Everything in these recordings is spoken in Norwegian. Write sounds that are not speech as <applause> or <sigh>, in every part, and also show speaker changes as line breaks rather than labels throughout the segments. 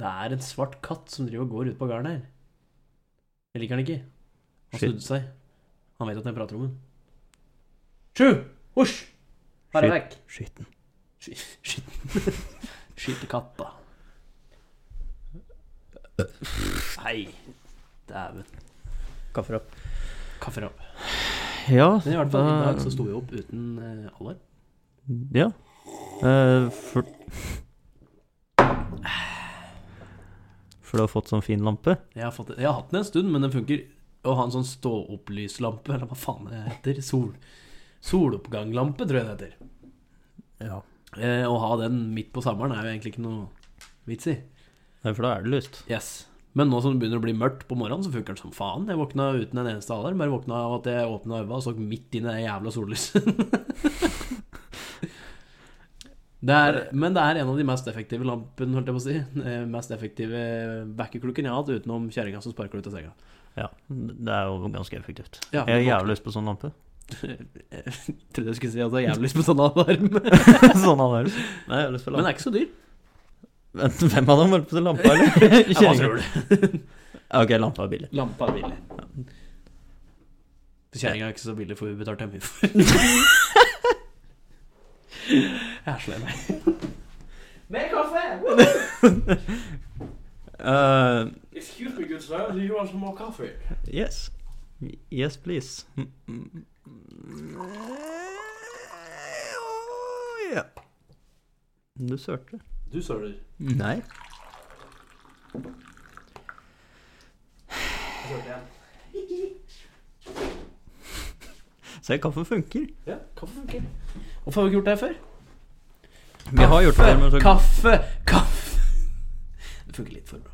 Det er en svart katt som driver og går ut på gården her. Jeg liker han ikke. Han
Shit.
snudde seg. Han vet at jeg prater om den. Sju! Husj! Bare
Shit.
vekk.
Skitten.
Skyte
<laughs>
katta. Nei, dæven.
Kaffer opp.
Kafferapp.
Ja,
Men i hvert fall, i
da-
dag så sto vi opp uten eh, alarm.
Ja. Eh, for For du har fått sånn fin lampe?
Jeg har, fått, jeg har hatt den en stund, men den funker å ha en sånn ståopplyslampe, eller hva faen det heter. Sol, soloppganglampe, tror jeg det heter.
Ja.
Eh, å ha den midt på sommeren er jo egentlig ikke noe vits i.
For da er det lyst.
Yes. Men nå som det begynner å bli mørkt på morgenen, så funker den som faen. Jeg våkna uten en eneste alarm. Bare våkna av at jeg åpna øynene og så midt inn i det jævla sollyset. <laughs> det er, men det er en av de mest effektive lampene, holdt jeg på å si. Eh, Mest effektive backerklukken jeg har hatt, utenom kjerringa som sparker ut av senga.
Ja, det er jo ganske effektivt.
Ja,
jeg har jævlig lyst på sånn
<laughs>
lampe.
Trodde jeg skulle si at det er jævlig lyst på sånn
<laughs>
alarm.
sånn hadde jeg lyst. Nei, jeg har lyst på
Men det
lampe.
er ikke så dyr.
Vent, hvem av dem har lyst på sånn lampe,
<laughs>
eller?
Ja, Hva tror du?
Ok, lampa er billig.
Lampa er billig. Kjerringa er ikke så billig, for vi betalte mye
<laughs>
for Jeg er så lei meg. Mer kaffe!
Eh,
Excuse me, good sir, do you want some more coffee?
yes. Yes, please. Mm, Ja. Du sølte.
Du søler.
Nei. Se, kaffen funker.
Ja, kaffe funker. Hvorfor har vi ikke gjort det her før?
Vi har gjort det før, men så
Kaffe! Kaffe! Det funker litt for bra.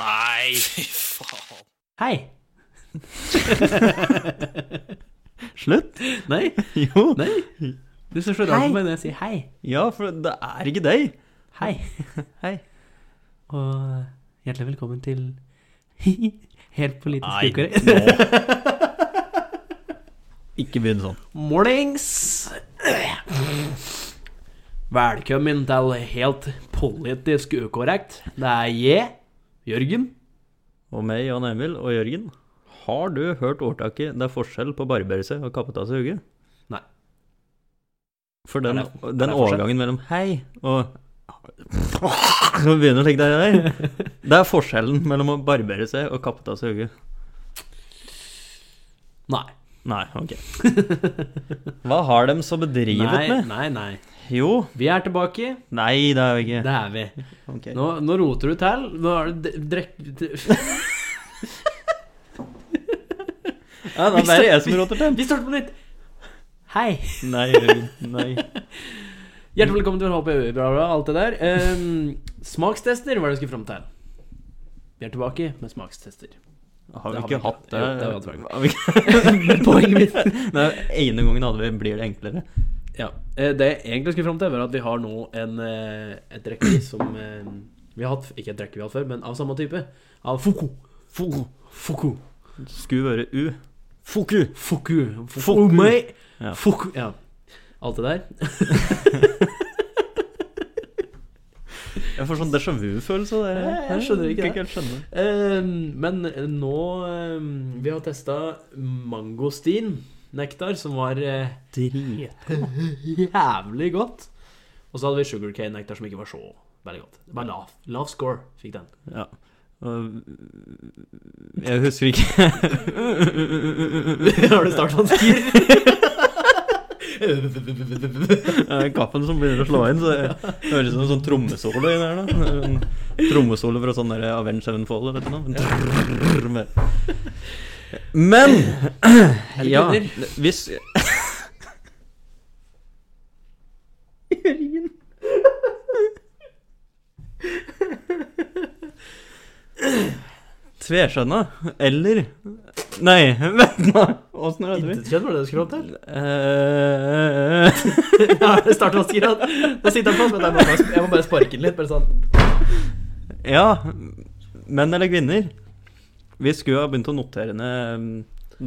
Nei!
Hei!
Slutt? <laughs>
Nei,
Jo.
nei. Du ser så rart på meg når jeg sier hei.
Ja, for det er ikke deg.
Hei.
Hei.
Og eh, hjertelig velkommen til <laughs> Helt politisk ukorrekt.
<laughs> Ikke begynn sånn.
<laughs> Mornings! Velkommen til helt politisk ukorrekt. Det er jeg, Jørgen.
Og meg, Jan Emil og Jørgen. Har du hørt ordtaket 'det er forskjell på å barbere seg og kappe av seg hugget'?
Nei.
For den,
Er det- er det
den
forskjell?
overgangen mellom 'hei' og <laughs> Nå begynner å legge deg <laughs> der. Det er forskjellen mellom å barbere seg og kappe av seg hugget.
Nei.
Nei,
<laughs>
ok. Hva har de så bedrivet
nei,
med?
nei, nei.
Jo
Vi er tilbake.
Nei, det er jo ikke
Det er vi.
Ok.
Nå, nå roter du til. Nå er det d- drekk... drekk-
Ja, det er bare jeg som roter til.
Vi starter på nytt. Hei.
Nei, Jørgen, nei.
Hjertelig velkommen til HPU, bla, bla, alt det der. Ehm, smakstester var det jeg skulle fram til. Vi er tilbake med smakstester.
Har
Det har
vi
vi
ikke
ikke.
hatt det?
Jo, det har vi hatt før.
Har
<laughs>
vi ikke- Poenget mitt Nei, ene gangen hadde vi 'blir det enklere'.
Ja. eh, Det jeg egentlig skulle fram til, var at vi har nå en, eh, et drikke som eh, vi har hatt Ikke et drikke vi har hatt før, men av samme type. Av Foku. Foku. Foku.
Skulle vært U. Foku!
Foku.
Foku.
meg.
Ja.
Foku. Ja. Alt det der.
Jeg får sånn déjà vu-følelse av det.
Nei, jeg skjønner ikke det.
helt skjønne.
Eh, Men nå eh, Vi har testa mangostin nektar, som var eh,
Drit.
<laughs> jævlig godt. Og så hadde vi sugarcane nektar, som ikke var så veldig godt. Det var lav, lav score, fikk den. <laughs>
Ja. Og- Jeg husker ikke
har du startvansker?
Eh, Kaffen som begynner å slå inn, så det høres ut som en sånn trommesolo inni her. da. En Trommesolo fra sånn der Avenge Sevenfold eller noe. Men
det
Ja,
kødder?
hvis Jørgen Tveskjønna, eller Nei, vent nå! Åssen er det?
Intet kjønn var det du skulle opp til? <laughs>
Eh,
Ja, startvansker. Nå sitter han fast, men jeg må bare- jeg må bare sparke den litt. Bare sånn.
Ja, menn eller kvinner? Vi skulle ha begynt å notere ned um,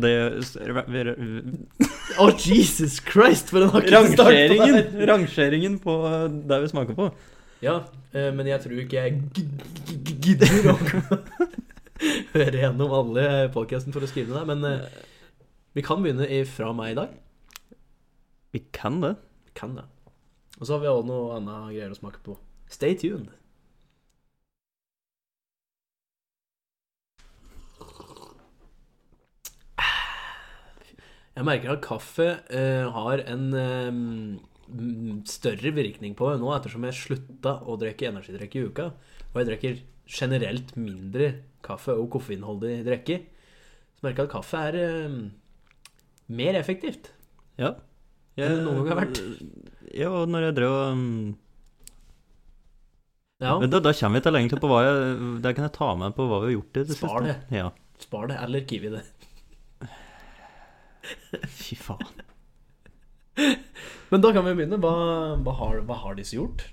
det s- ra- vi- ra-
Å, Jesus Christ, for en hakket start på det
Rangeringen!
her.
Rangeringen på uh, det vi smaker på.
Ja, eh, men jeg tror ikke jeg g- g- g- gidder å <laughs> høre gjennom alle podcasten for å skrive det der, men eh, vi kan begynne i- fra meg i dag.
Vi kan det.
Vi kan det. Og så har vi også noe annet greier å smake på. Stay tuned. Jeg merker at kaffe eh, har en eh, m- større virkning på meg nå, ettersom jeg slutta å drikke energidrikk i uka. Og jeg drikker generelt mindre kaffe og koffeinholdig drikke. Så merker jeg at kaffe er eh, mer effektivt.
Ja.
Enn det noen gang har vært.
Ja, og når jeg drev og um,
Ja,
Men da, da kommer vi til egentlig på hva jeg Der kan jeg ta med på hva vi har gjort i det
Spar
siste.
det.
Ja.
spar det, eller kiwi det.
Fy faen.
Men da kan vi begynne. Hva, hva, har, hva har disse gjort?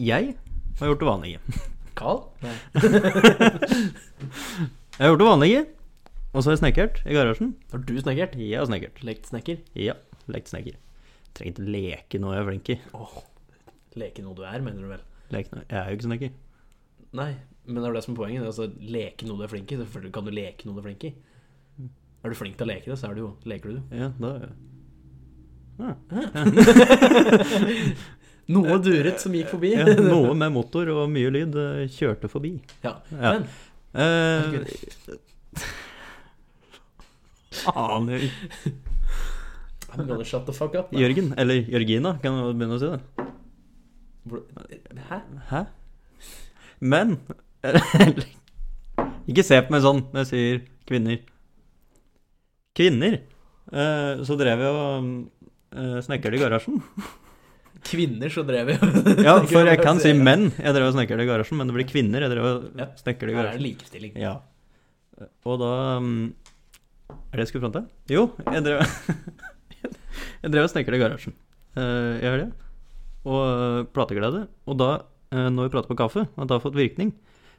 Jeg har gjort det vanlige.
Carl?
Jeg har gjort det vanlige. Og så har jeg snekkert i garasjen.
Har du snekkert?
Jeg har snekkert.
Lekt snekker?
Ja. Lekt snekker. Trenger ikke leke noe jeg er flink i.
Åh, leke noe du er, mener du vel?
Leke noe. Jeg er jo ikke sånn snekker.
Nei, men det er jo det som er poenget. Altså, leke noe du er flink i. Selvfølgelig kan du leke noe du er flink i.
Mm.
Er du flink til å leke det, så er du jo, leker du det.
Ja, da ja.
Ah. <laughs> Noe duret som gikk forbi.
Ja, Noe med motor og mye lyd eh, kjørte forbi.
<laughs> Ja,
Ja.
men
Eh,
herregud.
aner ikke.
I'm gonna shut the fuck up. da.
Jørgen, eller Jørgina, kan jeg begynne å si det.
Hvor- Hæ?
Hæ? Men Ikke se på meg sånn når jeg sier kvinner. Kvinner! Eh, så drev jeg og uh, snekret i garasjen.
Kvinner så drev jeg <laughs>
Ja, for jeg kan si menn. Jeg drev og snekret i garasjen, men det blir kvinner. Jeg drev og
Ja.
snekret i
Her er
garasjen.
det likestilling.
Ja. Og da mm, Er det jeg skulle fram til? Jo, jeg drev <laughs> Jeg drev og snekret i garasjen eh, i helga. Og eh, plateglede. Og da, eh, når vi prater på kaffe, at det har fått virkning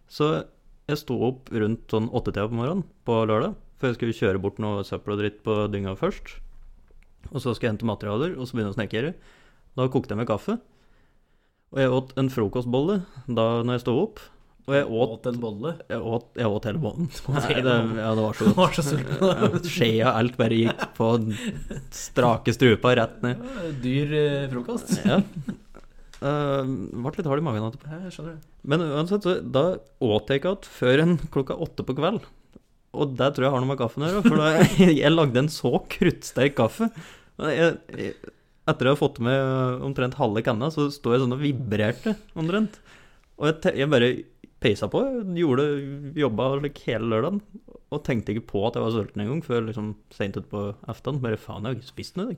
Så jeg sto opp rundt sånn åttetida på morgenen på lørdag, for jeg skulle kjøre bort noe søppel og dritt på dynga først. Og så skal jeg hente materialer, og så begynne å snekre. Da kokte jeg med kaffe. Og jeg åt en frokostbolle da når jeg sto opp. Og jeg åt
Åt en bolle.
jeg åt, jeg åt hele måneden.
åt
<laughs> Nei,
hele
det, ja, det var så
<laughs> Jeg
godt.
var så sulten.
Ja, Skjea og alt bare gikk på den strake strupa rett ned.
Ja, Dyr eh, frokost.
Ja. Eh, ble litt hard i magen etterpå.
Ja, jeg skjønner det.
Men uansett, så da åt jeg ikke igjen før en klokka åtte på kveld. Og det tror jeg har noe med kaffen å gjøre, for da, jeg lagde en så kruttsterk kaffe. Men Jeg, jeg, etter å ha fått med omtrent halve kanna, så sto jeg sånn og vibrerte omtrent. Og jeg, te- jeg bare peisa på, gjorde, jobba like, hele lørdagen. Og tenkte ikke på at jeg var sulten engang før liksom, seint utpå aften. Bare faen, jeg har ikke spist noe i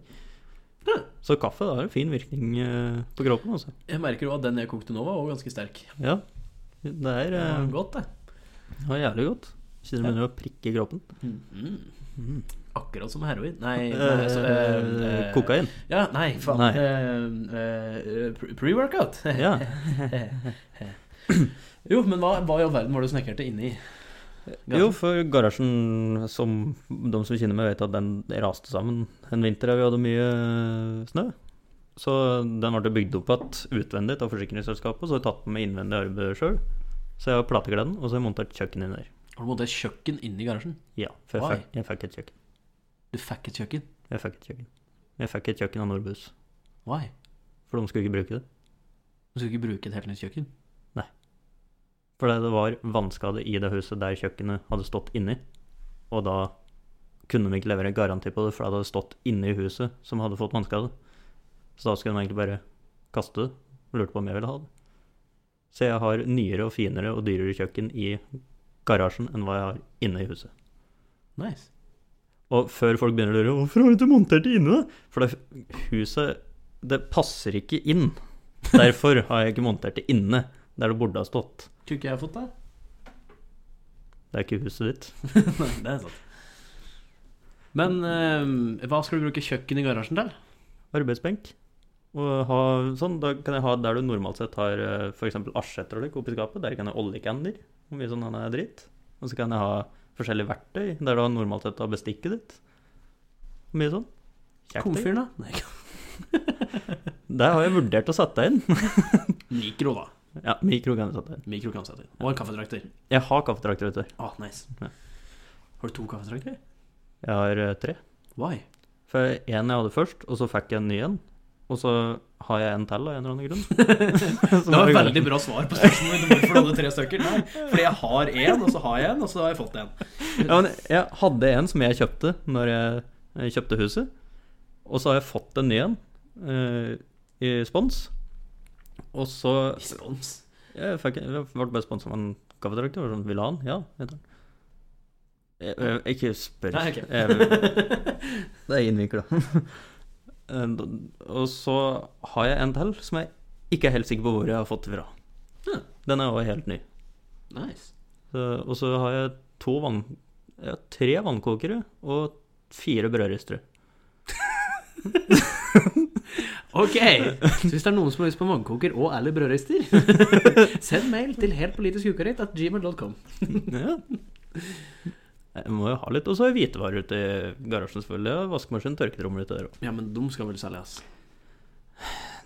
dag. Så kaffe det har en fin virkning eh, på kroppen, altså.
Jeg merker jo at den jeg kokte nå, var også ganske sterk.
Ja. Det er
Det
eh,
var godt, det.
det var jævlig godt. Kjenner du begynner å prikke i kroppen.
mm. Akkurat som heroin. Nei, nei
Eh,
altså, eh, eh, <laughs>
kokain.
Ja, nei, faen.
Nei.
Eh, eh, pre- Pre-workout. <laughs>
Ja.
jo, men hva, hva i all verden var det du snekkerte inni? Garasjen?
Jo, for garasjen, som de som kjenner meg, vet at den raste sammen en vinter da vi hadde mye eh, snø. Så den ble bygd opp igjen utvendig av forsikringsselskapet, og så har jeg tatt på meg innvendig arbeid sjøl. Så jeg har plategleden, og så har jeg montert kjøkken inn der.
Har du måttet et kjøkken inni garasjen?
Ja, for jeg
Oi.
fikk, jeg fikk et kjøkken.
Du fikk et kjøkken?
Jeg fikk et kjøkken. Jeg fikk et kjøkken av Nordbus,
Why?
for de skulle ikke bruke det.
Du skulle ikke bruke et helt nytt kjøkken?
Fordi det var vannskade i det huset der kjøkkenet hadde stått inni. Og da kunne de ikke levere garanti på det, for det hadde stått inne i huset som hadde fått vannskade. Så da skulle de egentlig bare kaste det. og Lurte på om jeg ville ha det. Så jeg har nyere og finere og dyrere kjøkken i garasjen enn hva jeg har inne i huset.
Nice.
Og før folk begynner å lure 'Hvorfor har du ikke montert det inne?' da?» For det huset Det passer ikke inn. Derfor har jeg ikke montert det inne, der det burde ha stått.
Tror ikke jeg har fått det.
Det er ikke huset ditt.
nei, <laughs> det er sant. Men eh, hva skal du bruke kjøkken i garasjen til?
arbeidsbenk. Og ha, sånn, da kan jeg ha der du normalt sett har eh, f.eks. asjetter og litt oppi skapet. Der kan jeg ha oljekanner og mye sånn annen dritt. Og så kan jeg ha forskjellige verktøy. Det er da normalt sett av bestikket ditt. Mye sånn. Kjekt, det.
Komfyren, da? Nei,
Der har jeg vurdert å sette inn. <laughs>
mikro, da.
Ja, mikro kan jeg sette inn.
Mikro kan sette inn. Og en kaffetrakter.
Jeg har kaffetrakter, vet du.
Ah, nice.
Ja.
Har du to kaffetrakter?
Jeg har eh, tre.
Why?
For en jeg hadde først, og så fikk jeg en ny en. Og så har jeg en til av en eller annen grunn.
<laughs> Det var et veldig bra svar på spørsmålet mitt om hvorfor du hadde tre stykker. Nei, fordi jeg har én, og så har jeg en, og så har jeg fått en.
Ja, men jeg hadde en som jeg kjøpte når jeg eh, kjøpte huset. Og så har jeg fått en ny en eh, i spons. Og så
Respons.
jeg fikk, jeg ble bare sponsa av en kaffetrakter. og var Sånn, vil du ha den? Ja, heter den. Jeg, jeg, ikke spør.
Nei, ok. <laughs>
jeg, det er innvikla. <laughs> Eh, og så har jeg en til som jeg ikke er helt sikker på hvor jeg har fått fra.
Ja.
Den er også helt ny.
Nice.
Så, Eh, og så har jeg to vann... Ja, tre vannkokere og fire
<laughs>
brødristere.
Ok, så hvis det er noen som har lyst på vannkoker og eller brødrister, <laughs> send mail til heltpolitiskukarett at gmail.com.
Ja. Jeg må jo ha litt. Og så har jeg hvitevarer ute i garasjen, selvfølgelig. og Vaskemaskin, tørketrommel ute der òg.
Ja, men de skal vel selges?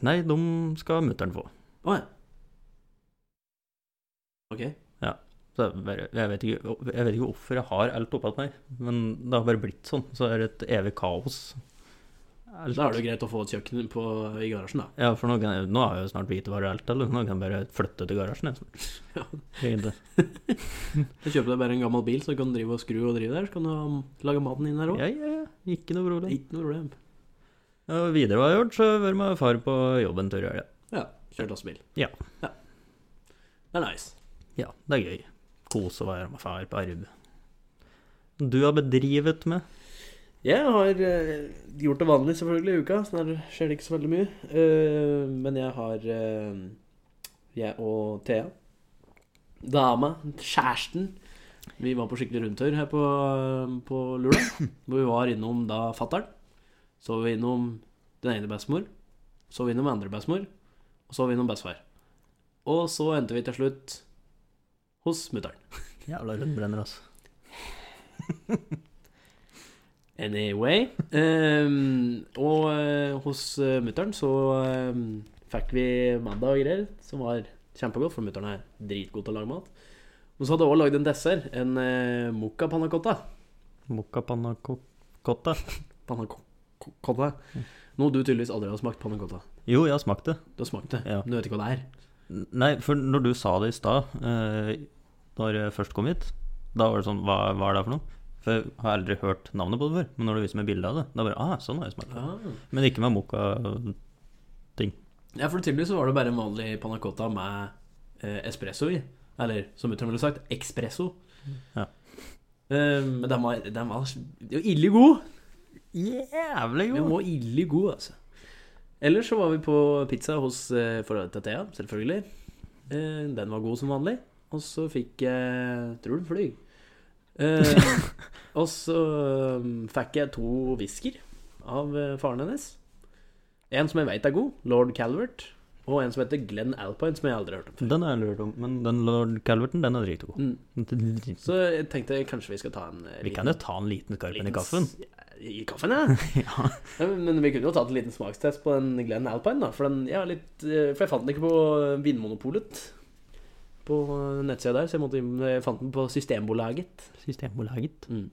Nei, de skal mutter'n få.
Å ja. Ok.
Så jeg, bare, jeg, vet ikke, jeg vet ikke hvorfor jeg har alt oppå meg, men det har bare blitt sånn. Så er det et evig kaos. Alt.
Da er det jo greit å få et kjøkken på, i garasjen, da.
Ja, for nå, kan jeg, nå har jeg jo snart hvitevarer og alt, eller nå kan jeg bare flytte til garasjen. Jeg,
<laughs> Ja.
snart. Egentlig.
Så kjøper du deg bare en gammel bil, så du kan drive og skru og drive der. Så kan du ha- lage maten inn der òg.
Ja, ja, ja. Ikke noe problem.
Ikke noe problem.
Ja, og videre hva jeg har gjort, så har jeg vært med far på jobb en tur i helga.
Ja. Kjørt lastebil.
Ja.
ja. Det er nice.
Ja, det er gøy. Kose å være med far på arbeid. Du har bedrivet med
Jeg har eh, gjort det vanlig selvfølgelig i uka, så der skjer det ikke så veldig mye. Eh, men jeg har eh, Jeg og Thea, dama, kjæresten Vi var på skikkelig rundtur her på, eh, på Lula, hvor vi var innom da fatter'n. Så var vi innom den ene bestemor, så var vi innom den andre bestemor, og så var vi innom bestefar. Og så endte vi til slutt hos mutter'n.
Jævla rundbrenner, altså.
Anyway. ehm, og eh, hos uh, mutter'n så ehm, fikk vi mandag og greier, som var kjempegodt, for mutter'n er dritgod til å lage mat. Men så hadde hun også lagd en dessert, en uh, mocca panna cotta.
Mocca panna co- cotta.
Panna co- co- cotta. Noe du tydeligvis aldri har smakt panna cotta.
Jo, jeg har smakt det.
Du har smakt det,
Ja.
men du vet ikke hva det er.
N- Nei, for når du sa det i stad, eh, når jeg først kom hit, da var det sånn Hva, hva er det for noe? For jeg har aldri hørt navnet på det før. Men når du viser meg bilde av det, da bare Ah, sånn har jeg smakt det. Men ikke med mocca
Ja, for tydeligvis så var det bare en vanlig panna cotta med eh, espresso i. Eller som mutter'n ville sagt, espresso.
Ja.
Eh, men den var, den var ille god.
Jævlig
Vi
god!
var ille god, altså. Ellers så var vi på pizza hos eh, forholdet til Thea, selvfølgelig. Eh, den var god som vanlig. Og så fikk jeg Tror den flyg.
<laughs>
Eh, og så um, fikk jeg to whisker av eh, faren hennes. En som jeg veit er god, lord Calvert. Og en som heter Glenn Alpine, som jeg aldri har hørt om.
Den har jeg lurt om, men den lord Calverton, den er dritgod.
Mm.
Den-
Så jeg tenkte kanskje vi skal ta en eh,
Vi kan jo ta en liten skarpen i
liten
<laughs> kaffen.
s- I kaffen, ja. ja. Men vi kunne jo tatt en liten smakstest på den Glenn Alpine, da. For, den, jeg er litt, eh, for jeg fant den ikke på Vinmonopolet. På eh, nettsida der, så jeg, måtte, inn- jeg fant den på Systembolaget.
Systembolaget.
Mm.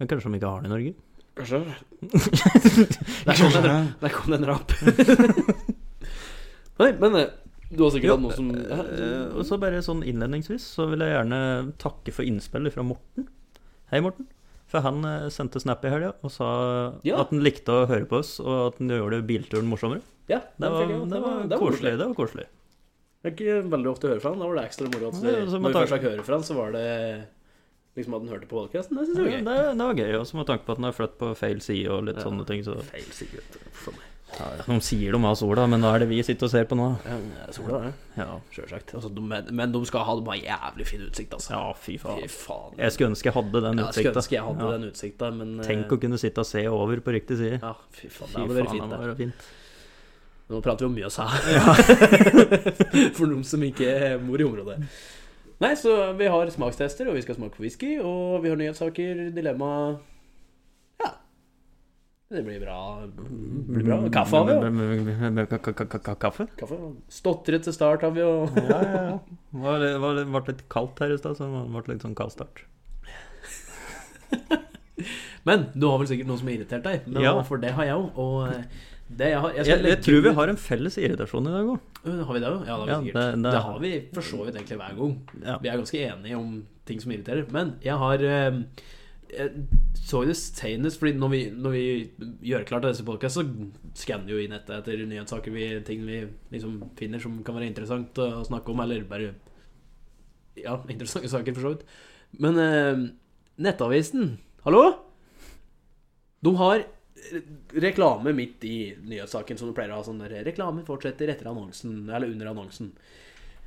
Men kanskje de ikke har det i Norge?
Kanskje.
<laughs>
Der kom den, der kom den rap. <laughs> Nei, men eh, du har sikkert
Jo,
hatt noe som
Eh, Og så bare sånn innledningsvis så vil jeg gjerne takke for innspillet fra Morten. Hei, Morten. For han eh, sendte snap i helga og sa
Ja.
at han likte å høre på oss, og at han gjorde bilturen morsommere.
Ja,
Det
den
var,
fikk jeg.
det var,
det
koselig. Det var koselig.
Det er ikke veldig ofte å høre fra han. Da var det ekstra moro. at
Nei,
det-
og så må
Når vi
ta-
først fikk høre fra han, så var det liksom at han hørte på podkasten. Det syns
Ja,
jeg var gøy.
det, det var gøy, også med tanke på at han har flyttet på feil side og litt
Ja.
sånne ting. Så.
Feil sikkert. For meg.
De sier de har sola, men hva er det vi sitter og ser på nå?
Ja, men det er sola, det.
Ja,
Sjølsagt. Altså, de- men, men de skal ha de har jævlig fin utsikt, altså.
ja fy
Fy
faen.
faen.
Jeg skulle ønske jeg hadde den
Ja, jeg skulle
utsikta.
ønske jeg hadde
Ja.
den utsikta, men eh,
Tenk å kunne sitte og se over på riktig side.
Ja, fy faen. Det
Fy
hadde vært fint,
det
det.
var fint.
<laughs> Nå prater vi om Mjøsa. For de som ikke bor i området.
Nei, så vi har smakstester, og vi skal smake whisky, og vi har nyhetssaker, dilemma Ja. Det blir bra. Blir bra. Kaffe har vi
Mm.
jo.
Kaffe?
Kaffe. Stotrete start har vi jo.
Ja, ja, ja. Det var, det var, det ble litt kaldt her i stad, så det ble litt sånn kald start.
Men du har vel sikkert noe som har irritert deg? Men,
Ja.
For det har jeg jo. Og eh, det jeg har jeg
Jeg,
skal
jeg
legge
tror vi
ut-
har en felles irritasjon i dag òg.
Øh, Har vi det òg? Ja, det har vi
Ja, det-
sikkert.
det-
Det, har vi for så vidt egentlig hver gang.
Ja.
Vi er ganske enige om ting som irriterer. Men jeg har eh, jeg så det senest, fordi når vi, når vi gjør klart disse podkastene, så skanner vi jo i nettet etter nyhetssaker, vi, ting vi liksom finner som kan være interessant å snakke om, eller bare Ja, interessante saker, for så vidt. Men eh, Nettavisen, hallo? De har reklame midt i nyhetssaken, som du pleier å ha sånn der reklame fortsetter etter annonsen, eller under annonsen.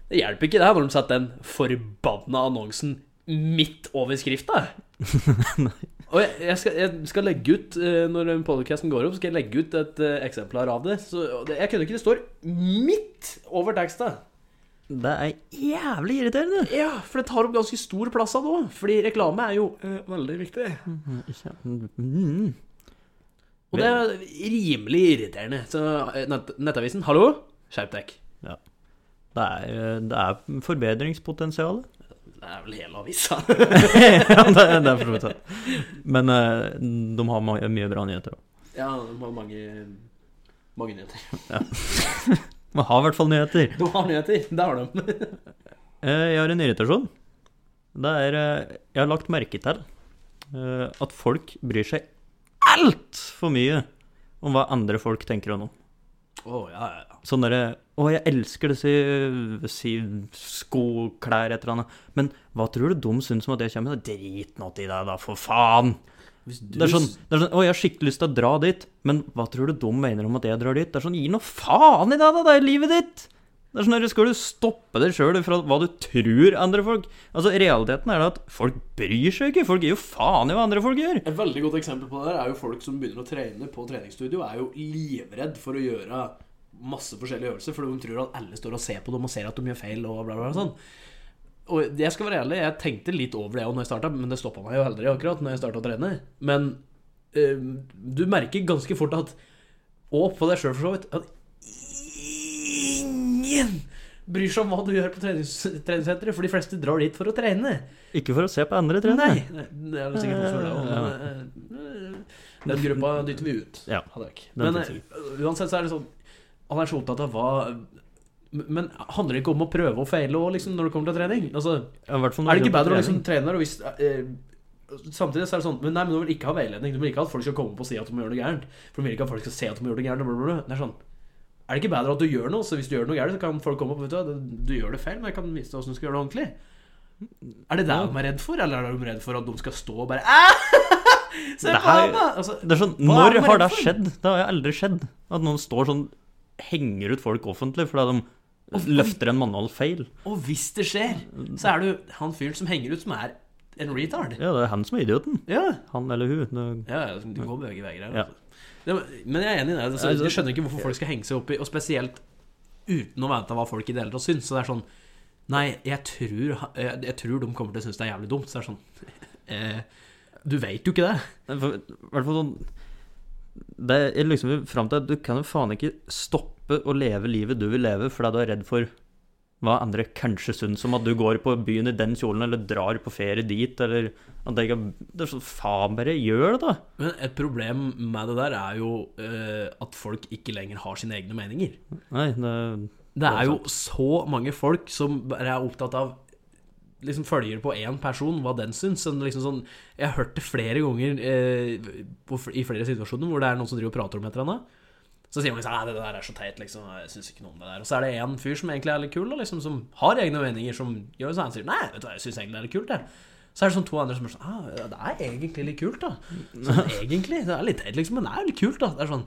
Det hjelper ikke det her når de setter den forbanna annonsen midt over skrifta. <laughs> Og jeg, jeg, skal, jeg skal legge ut, eh, når podcasten går opp, skal jeg legge ut et eh, eksemplar av det. Så og det, jeg kødder ikke, det står midt over teksta.
Det er jævlig irriterende!
Ja, for det tar opp ganske stor plass av det òg. Fordi reklame er jo eh, veldig viktig.
Mm.
Og det er rimelig irriterende. Så eh, nett, Nettavisen, hallo? Skjerp deg.
Det er, det er
<laughs>
forbedringspotensial.
Det er vel hele avisa. <laughs>
ja, det, er- det er for så vidt sant. Men eh, de har ma- mye bra nyheter òg.
Ja, de har mange Mange nyheter.
De har i hvert fall nyheter.
De har nyheter, det har de.
Eh, Jeg har en irritasjon. Det er eh, Jeg har lagt merke til eh, at folk bryr seg altfor mye om hva andre folk tenker om noe.
Å, ja, ja, ja.
Sånn derre Å, jeg elsker disse eh, si, sko, klær, et eller annet. Men hå tror du de syns om at jeg kommer med? Drit nå til deg, da, for faen!
Hvis du
Det er sånn, det er sånn Å, jeg har skikkelig lyst til å dra dit, men hva tror du de mener om at jeg drar dit? Det er sånn Gi nå faen i deg, da! Det er livet ditt! Det er sånn, eller Skal du stoppe deg sjøl fra hva du tror andre folk Altså, Realiteten er da at folk bryr seg ikke. Folk gir jo faen i hva andre folk gjør.
Et veldig godt eksempel på det der er jo folk som begynner å trene på treningsstudio, er jo livredd for å gjøre masse forskjellige øvelser, fordi de tror at alle står og ser på dem og ser at de gjør feil og bla, bla, bla. Sånn. Og jeg skal være ærlig, jeg tenkte litt over det også når jeg starta, men det stoppa meg jo aldri akkurat når jeg starta å trene. Men eh, du merker ganske fort at Og på deg sjøl, for så vidt. At ingen bryr seg om hva du gjør på trenings treningssenteret, for de fleste drar dit for å trene.
Ikke for å se på andre trene.
Nei, nei, det er vel sikkert noe for det også, men, eh, Den gruppa dytter vi ut.
Ja,
hadde jeg ikke.
den
Men
fikser
eh, uansett så er det sånn Han er så opptatt av hva Men handler det ikke om å prøve og feile også, liksom, når det kommer til trening? Altså,
Ja, i hvert fall når
er det
det
ikke
kommer til
bedre å
trening.
liksom trene der og hvis eh, Samtidig så er det sånn Men nei, men du vil ikke ha veiledning. Du vil ikke at folk skal komme opp og si at de må gjøre noe gærent. For du vil ikke at folk skal se at de må gjøre noe gærent. og bla, bla, bla. Det er sånn Er det ikke bedre at du gjør noe? Så hvis du gjør noe gærent, så kan folk komme opp og vet du, hva, du gjør det feil, men jeg kan vise deg hvordan du skal gjøre det ordentlig. Er det det de er redd for, eller er de redd for at de skal stå og bare «Ah, <laughs> Se
Det
på
her-
ham, da! Altså,
Det er sånn,
Hva er
Når
det med
har
det
det
for?
skjedd? Det har jo aldri skjedd. At noen står sånn Henger ut folk offentlig fordi de løfter en manual feil.
og hvis det skjer, så er du han fyren som henger ut, som er en retard.
Ja, det er han som er idioten.
Ja,
Han eller hun. Det-
Ja, ja, det går begge veier her.
Ja.
Altså. Det, men jeg er enig i det. Altså, jeg skjønner ikke hvorfor folk skal henge seg opp i Og spesielt uten å vite hva folk i det hele tatt syns. Så det er sånn Nei, jeg tror, jeg, jeg tror de kommer til å synes det er jævlig dumt. Så det er sånn <laughs> eh, Du veit jo ikke det.
I hvert fall sånn Det er liksom fram til at du kan jo faen ikke stoppe å leve livet du vil leve fordi du er redd for hva andre kanskje syns om at du går på byen i den kjolen, eller drar på ferie dit, eller at det ikke Det er sånn Faen, bare gjør det, da!
Men et problem med det der er jo eh, at folk ikke lenger har sine egne meninger.
Nei, det
Det er jo så mange folk som bare er opptatt av Liksom følger på én person, hva den syns. Sånn, liksom sånn, jeg har hørt det flere ganger eh, på, fl- i flere situasjoner hvor det er noen som driver og prater om et eller annet. Så sier man liksom «Nei, det der er så teit, liksom. Jeg syns ikke noe om det der. Og så er det en fyr som egentlig er litt kul, da, liksom, som har egne meninger, som gjør sånn. Han sier nei, vet du hva, jeg syns egentlig det er litt kult, jeg. Så er det sånn to andre som er sånn ah, ja, Det er egentlig litt kult, da. Sånn egentlig. Det er litt teit, liksom, men det er jo litt kult, da. Det er sånn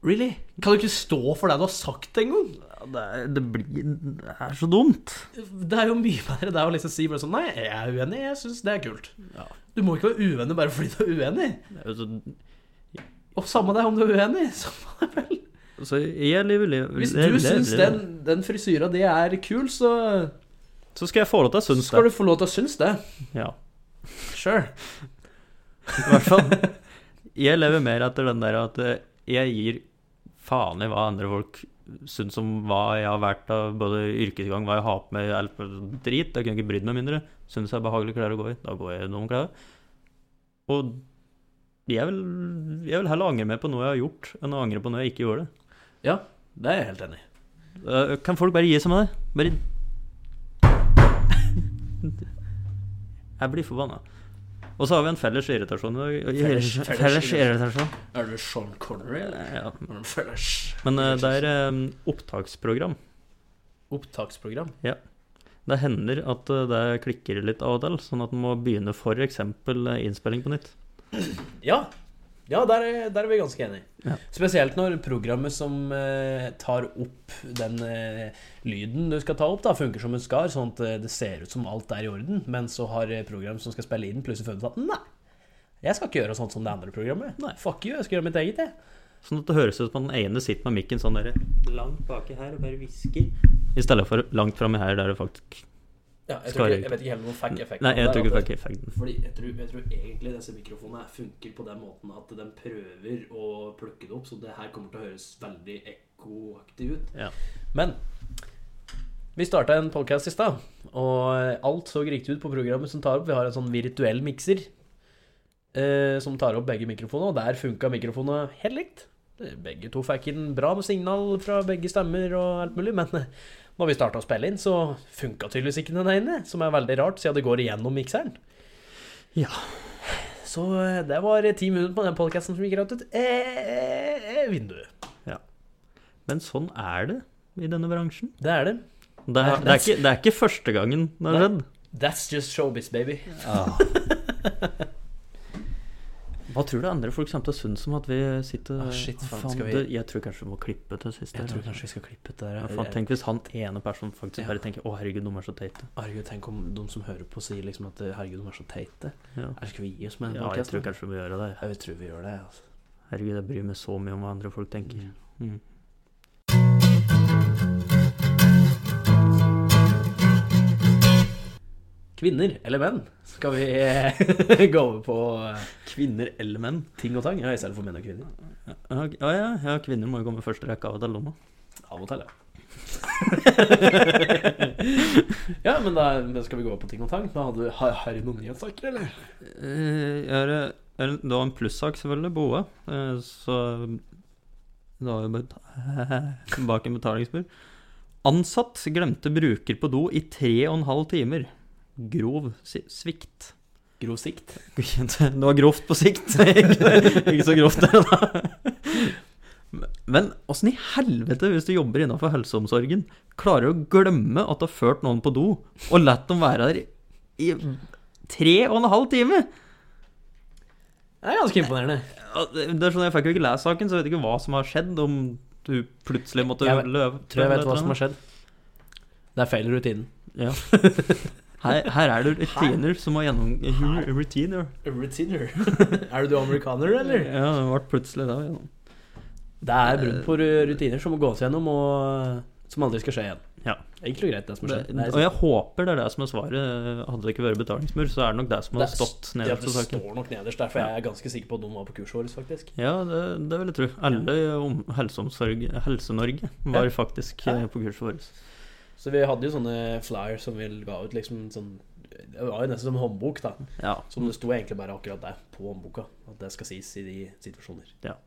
Really? Kan du ikke stå for det du har sagt engang?
Ja, Det er, det blir, det er så dumt.
Det er jo mye bedre det å liksom si bare sånn Nei, jeg er uenig, jeg syns det er kult. Du må ikke være uenig bare fordi du er uenig.
Det er jo så,
Og samme det om du er uenig. <laughs> samme det vel.
så jeg lever livet
Hvis du syns den, den frisyra di er kul, så
Så skal jeg få lov til å synes
Skal
det.
du få lov til å synes det.
Ja.
Sure.
I hvert fall. Jeg lever mer etter den der at eh, jeg gir faen i hva andre folk syns om hva jeg har vært av både yrkesgang, hva jeg har på meg, alt mulig drit. Jeg kunne ikke brydd meg mindre. Syns jeg er behagelige klær å gå i, da går jeg i noen klær. Og jeg vil, jeg vil heller angre meg på noe jeg har gjort, enn å angre på noe jeg ikke gjorde.
Det er jeg helt enig i.
Eh, Kan folk bare gi seg med det? Bare <laughs> Jeg blir forbanna. Og så har vi en felles irritasjon. i dag.
Felles- felles
felles irritasjon.
Er du Sean Connery, eller?
Ja.
Er du en Fellers.
Men eh, det er eh, opptaksprogram.
Opptaksprogram.
Det hender at eh, det klikker litt av og til, sånn at en må begynne f.eks. innspilling på nytt.
Ja. Ja, der er, der er vi ganske enige.
Ja.
Spesielt når programmet som eh, tar opp den eh, lyden du skal ta opp, da, funker som en skar, sånn at eh, det ser ut som alt er i orden, men så har eh, program som skal spille i den, plutselig funnet ut at nei, jeg skal ikke gjøre sånt som det andre programmet.
Nei.
Fuck you, jeg skal gjøre mitt eget, jeg.
Sånn at det høres ut som at den ene sitter med mikken sånn der langt baki her og bare hvisker. I stedet for langt framme her, der det faktisk jeg tror ikke- jeg vet
ikke heller noen fact
Nei, jeg tror ikke det fikk effekten.
Fordi jeg tror, jeg tror egentlig disse mikrofonene funker på den måten at de prøver å plukke det opp, så det her kommer til å høres veldig ekkoaktig ut.
Ja.
Men vi starta en podcast i stad, og alt så riktig ut på programmet som tar opp. Vi har en sånn virtuell mikser eh, som tar opp begge mikrofonene, og der funka mikrofonene helt likt. Eh, Begge to fikk inn bra med signal fra begge stemmer og alt mulig, men eh, når vi starta å spille inn, så funka tydeligvis ikke den ene, som er veldig rart, siden det går igjennom mikseren.
Ja.
Så eh, det var ti minutter på den podkasten som gikk rett ut eh, vinduet.
Men sånn er det i denne bransjen.
Det er det.
Det er, det er, ikke, det er ikke første gangen det har
Nei.
skjedd.
That's just showbiz, baby.
Hva tror du andre folk kommer til å synes om at vi sitter
Ah, shit,
Å,
faen, skal vi-
det, Jeg tror kanskje vi må klippe til sist. her, altså.
vi skal klippe ut det
Ja, faen, tenk hvis han ene personen faktisk
Ja.
bare tenker 'Å, herregud, de er så teite'.
Herregud, tenk om de som hører på, sier liksom at herregud, de er så teite.
Ja.
Her skal vi gi oss med den
ja, jeg tror
podcasten?
kanskje vi må gjøre det.
Ja, jeg tror vi gjør det. Altså.
Herregud, jeg bryr meg så mye om hva andre folk tenker. Mm.
Kvinner eller menn? Skal vi eh, <laughs> gå over på eh,
Kvinner eller menn?
ting og tang? Ja, i stedet for menn og kvinner.
Ja, ja, ja, ja, kvinner må jo komme første rekke av og til. Lomma.
Av og til, <laughs> ja. ja, men da men skal vi gå på ting og tang. Da hadde, du- har, har du noen nyhetssaker, eller?
Eh, jeg har, eh, eller, det var en plussak, selvfølgelig, Boa. Eh, så det var jo bare <laughs> bak en betalingsmur. Ansatt glemte bruker på do i tre og en halv timer. Grov si- svikt.
Grov sikt.
<laughs> Det var grovt på sikt. <laughs> Ikke så grovt, det, da. Men åssen i helvete, hvis du jobber innafor helseomsorgen, klarer du å glemme at du har ført noen på do, og latt dem være der i tre og en halv time?
Det er ganske imponerende.
Ja, Det det er sånn, Jeg fikk jo ikke lest saken, så jeg vet ikke hva som har skjedd. Om du plutselig måtte
Jeg vet-
løpe
Tror jeg vet hva som har skjedd. Det er feil i rutinen.
Ja. Her, her er det rutiner som må gjennom ru- Rutiner.
Rutiner? <laughs> er du amerikaner,
Ja, det ble plutselig da. Gjennom.
Det er brudd på ru- rutiner som må gås gjennom, og eh, som aldri skal skje igjen.
Ja.
Egentlig greit, det som har
Det,
skjedd. Det er-
og jeg håper det er det som er svaret. Hadde det ikke vært betalingsmur, så er det nok det som hadde
Det er-
stått
det at
nederst
det
på saken.
står nok nederst der, for jeg er ganske sikker på at noen var på kurset vårt, faktisk.
Ja, det, det vil jeg tro. Alle om helseomsorg, Helse-Norge var
Ja.
faktisk
Ja.
eh, på kurset vårt.
Så vi hadde jo sånne flyers som vi ga ut, liksom sånn Det var jo nesten som håndbok, da.
Ja.
Som det sto egentlig bare akkurat der på håndboka. At det skal sies i de situasjoner.
Ja.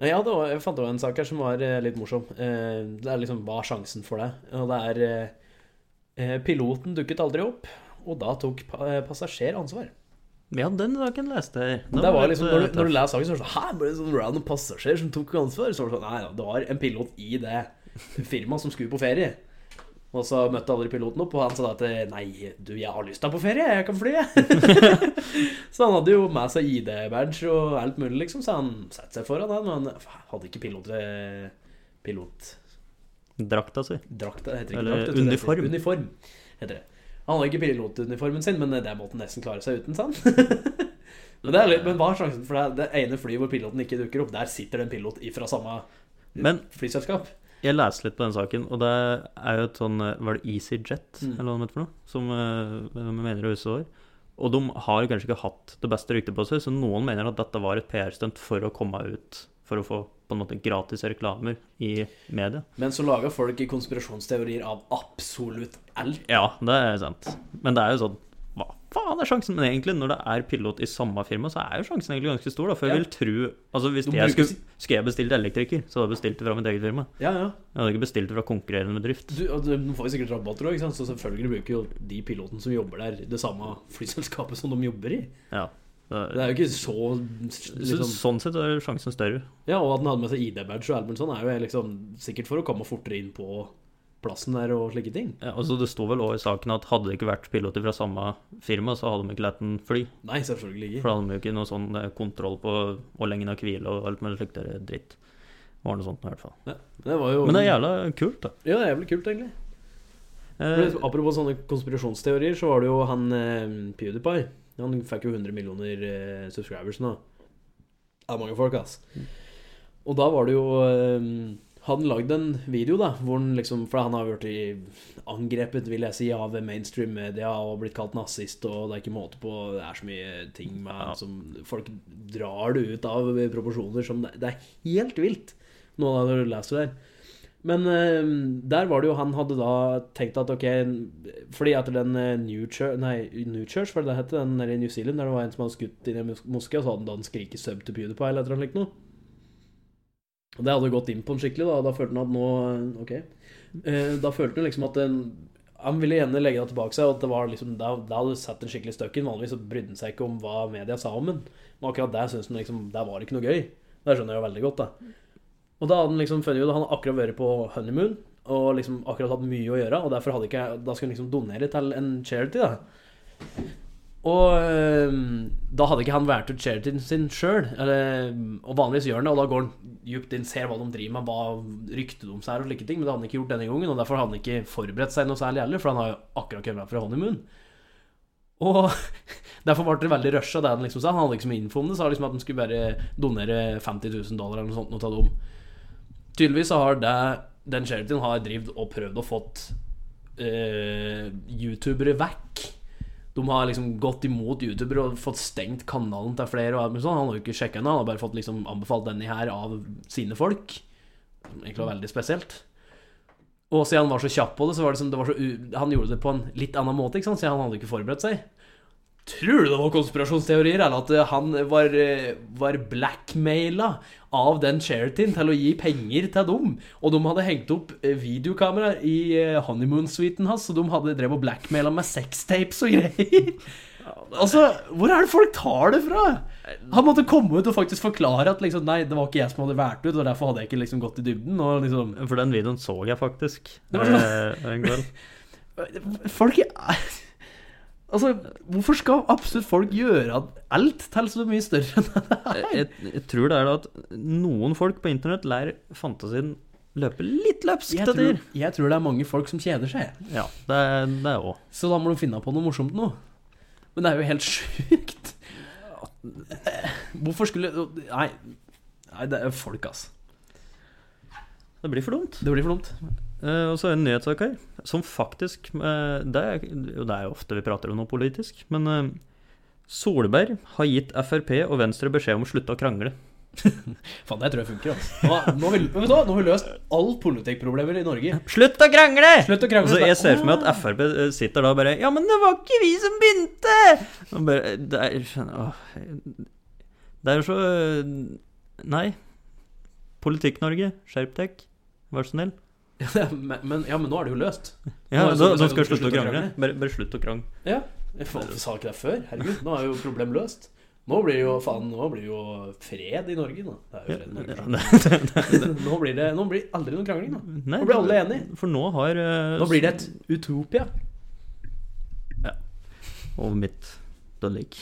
Nei, Ja, det var, jeg fant også en sak her som var eh, litt morsom. Eh, Det er liksom Hva er sjansen for det? Og det er eh, eh, Piloten dukket aldri opp, og da tok pa- eh, passasjer ansvar.
ja, den saken leste jeg. Den
Det var
litt,
liksom,
eh,
når, du, når du leser saken, så er det sånn Hæ, ble det sånn random passasjer som tok ansvar? Så var det sånn Nei da, det var en pilot i det firmaet som skulle på ferie. Og så møtte aldri piloten opp, og han sa da at Nei, du, jeg har lyst til å være på ferie, jeg kan fly, <laughs> jeg. så han hadde jo med seg ID-badge og alt mulig, liksom, så han satte seg foran, han. Men han hadde ikke pilot... eh, pilot
Drakta si.
Drakt, det heter ikke
Eller
drakt, vet du, det
uniform.
Heter, uniform heter det. Han hadde ikke pilotuniformen sin, men det måtte han nesten klare seg uten, sa han. <laughs> men, det er litt, men hva er sjansen for det? er Det ene flyet hvor piloten ikke dukker opp, der sitter det en pilot fra samme
Men-
flyselskap.
jeg leste litt på den saken, og det er jo et sånn eh, Var det EasyJet
Mm.
eller hva det heter for noe? Som eh, vi mener å huske år. Og de har kanskje ikke hatt det beste ryktet på seg, så noen mener at dette var et PR-stunt for å komme ut, for å få på en måte gratis reklamer i media.
Men så lager folk i konspirasjonsteorier av absolutt alt.
Ja, det er sant. Men det er jo sånn Hva faen er sjansen? Men egentlig, når det er pilot i samme firma, så er jo sjansen egentlig ganske stor, da. For jeg
Ja.
vil tro Altså, hvis
De
jeg
bruker
skulle, skulle jeg bestilt elektriker, så hadde jeg bestilt det fra mitt eget firma.
Ja, ja.
Jeg hadde ikke bestilt det fra konkurrerende bedrift.
Du, og du- nå får vi sikkert rabatter òg, så selvfølgelig bruker jo de pilotene som jobber der, det samme flyselskapet som de jobber i.
Ja. Det
Det
er,
er jo ikke så
så,
liksom,
sånn sett er sjansen større.
Ja, og at han hadde med seg ID-badge og Albert sånn, er jo liksom sikkert for å komme fortere inn på plassen der og slike ting.
Ja, altså, det sto vel òg i saken at hadde det ikke vært piloter fra samme firma, så hadde de ikke latt den fly.
Nei, selvfølgelig ikke.
For da hadde de jo ikke noe sånn eh, kontroll på hvor lenge den har hvile og alt mulig slikt der dritt. Det var noe sånt i hvert fall.
Ja, det var jo
Men det er jævla kult, da.
Ja, det er jævlig kult, egentlig.
Eh,
Men Apropos sånne konspirasjonsteorier, så var det jo han eh, PewDiePie. Han fikk jo 100 millioner eh, subscribers nå. Det er mange folk, ass. Og da var det jo eh, Han lagde en video, da, hvor han liksom For han har jo blitt angrepet, vil jeg si, av mainstream media og blitt kalt nazist, og det er ikke måte på Det er så mye ting med,
Ja.
som Folk drar det ut av proporsjoner som Det, det er helt vilt, noe av det du leser der. Men eh, der var det jo han hadde da tenkt at ok Fordi etter den eh, New Church, nei, New Church var det det hette, den der i New Zealand, der det var en som hadde skutt inn i en mos- moské, og så hadde han da en skrike sub til PewDiePie eller et eller annet likt noe. Og det hadde gått inn på han skikkelig, da, og da følte han at nå eh, Ok. Eh, Da følte han liksom at den han ville gjerne legge det tilbake seg, og at det var liksom, da, da hadde du satt en skikkelig støkk inn. Vanligvis så brydde han seg ikke om hva media sa om den, men akkurat der syntes han liksom, der var det ikke noe gøy. Det skjønner jeg jo veldig godt, da. Og da hadde han liksom funnet ut Han hadde akkurat vært på honeymoon og liksom akkurat hatt mye å gjøre, og derfor hadde ikke jeg Da skulle han liksom donere til en charity, da. Og øhm, da hadde ikke han valgt ut charityen sin sjøl. Og vanligvis gjør han det, og da går han djupt inn, ser hva de driver med, hva ryktet deres er og slike ting, men det hadde han ikke gjort denne gangen, og derfor hadde han ikke forberedt seg noe særlig heller, for han har jo akkurat kommet fra honeymoon. Og <laughs> derfor ble det veldig rush av det han liksom sa. Han hadde liksom info om det, sa liksom at han skulle bare donere 50 000 dollar eller noe sånt noe til dem. Tydeligvis så har det den charityen har drivd og prøvd å fått eh, youtubere vekk. De har liksom gått imot youtubere og fått stengt kanalen til flere. Og alt mulig sånn. Han har jo ikke sjekka den, han har bare fått liksom anbefalt denne her av sine folk. Som egentlig var veldig spesielt. Og siden han var så kjapp på det, så var det som det var så u han gjorde det på en litt annen måte, ikke sant? siden han hadde ikke forberedt seg. Tror du det var konspirasjonsteorier, eller at eh, han var, eh, var blackmaila av den charityen til å gi penger til dem? Og de hadde hengt opp eh, videokamera i eh, honeymoon-suiten hans, så de hadde drevet og blackmaila med sextapes og greier. <laughs> Altså, hvor er det folk tar det fra? Han måtte komme ut og faktisk forklare at liksom, nei, det var ikke jeg som hadde valgt ut, og derfor hadde jeg ikke liksom gått i dybden. Og liksom
Eh, For den videoen så jeg faktisk
Det var
eh, en kveld.
Folk er- Altså, hvorfor skal absolutt folk gjøre alt til så mye større enn det er?
Jeg, jeg tror det er da at noen folk på internett lar fantasien løpe litt løpsk
Jeg
til
tror,
tider.
jeg tror det er mange folk som kjeder seg,
Ja, det er det òg.
så da må du finne på noe morsomt nå. Men det er jo helt sjukt. Hvorfor skulle Nei, nei det er folk, altså.
Det blir for dumt.
Det blir for dumt.
Eh, og så er det en nyhetssak her, som faktisk eh, det, er, jo, det er jo ofte vi prater om noe politisk, men eh, Solberg har gitt Frp og Venstre beskjed om å slutte å krangle.
Faen, det tror jeg funker, altså. Nå, nå, vil, vet du, hva? nå har vi løst alle politikkproblemer i Norge.
Slutt å krangle!
Slutt å krangle.
Så Altså, jeg ser for meg at Frp eh, sitter da og bare Ja, men det var ikke vi som begynte! Og bare, det er åh, Det er jo så eh, Nei. Politikk-Norge, skjerp deg. Vær så snill.
Ja, men, men, ja, men nå er det jo løst.
Ja,
Nå er det
da,
sånn at
da
jeg
skal
skal
jeg slutte å
slutte å
krangle. Bare, bare slutt å krangle.
Ja. Jeg faen, jeg sa ikke det før. Herregud, nå er jo problem løst. Nå blir det jo faen, nå blir det jo fred i Norge, nå. Det er jo fred i Norge. Nå blir det nå blir det aldri noen krangling, da.
Nei,
Nå blir alle enige.
For nå har eh,
Nå blir det et utopia.
Og mitt <laughs> dødlik.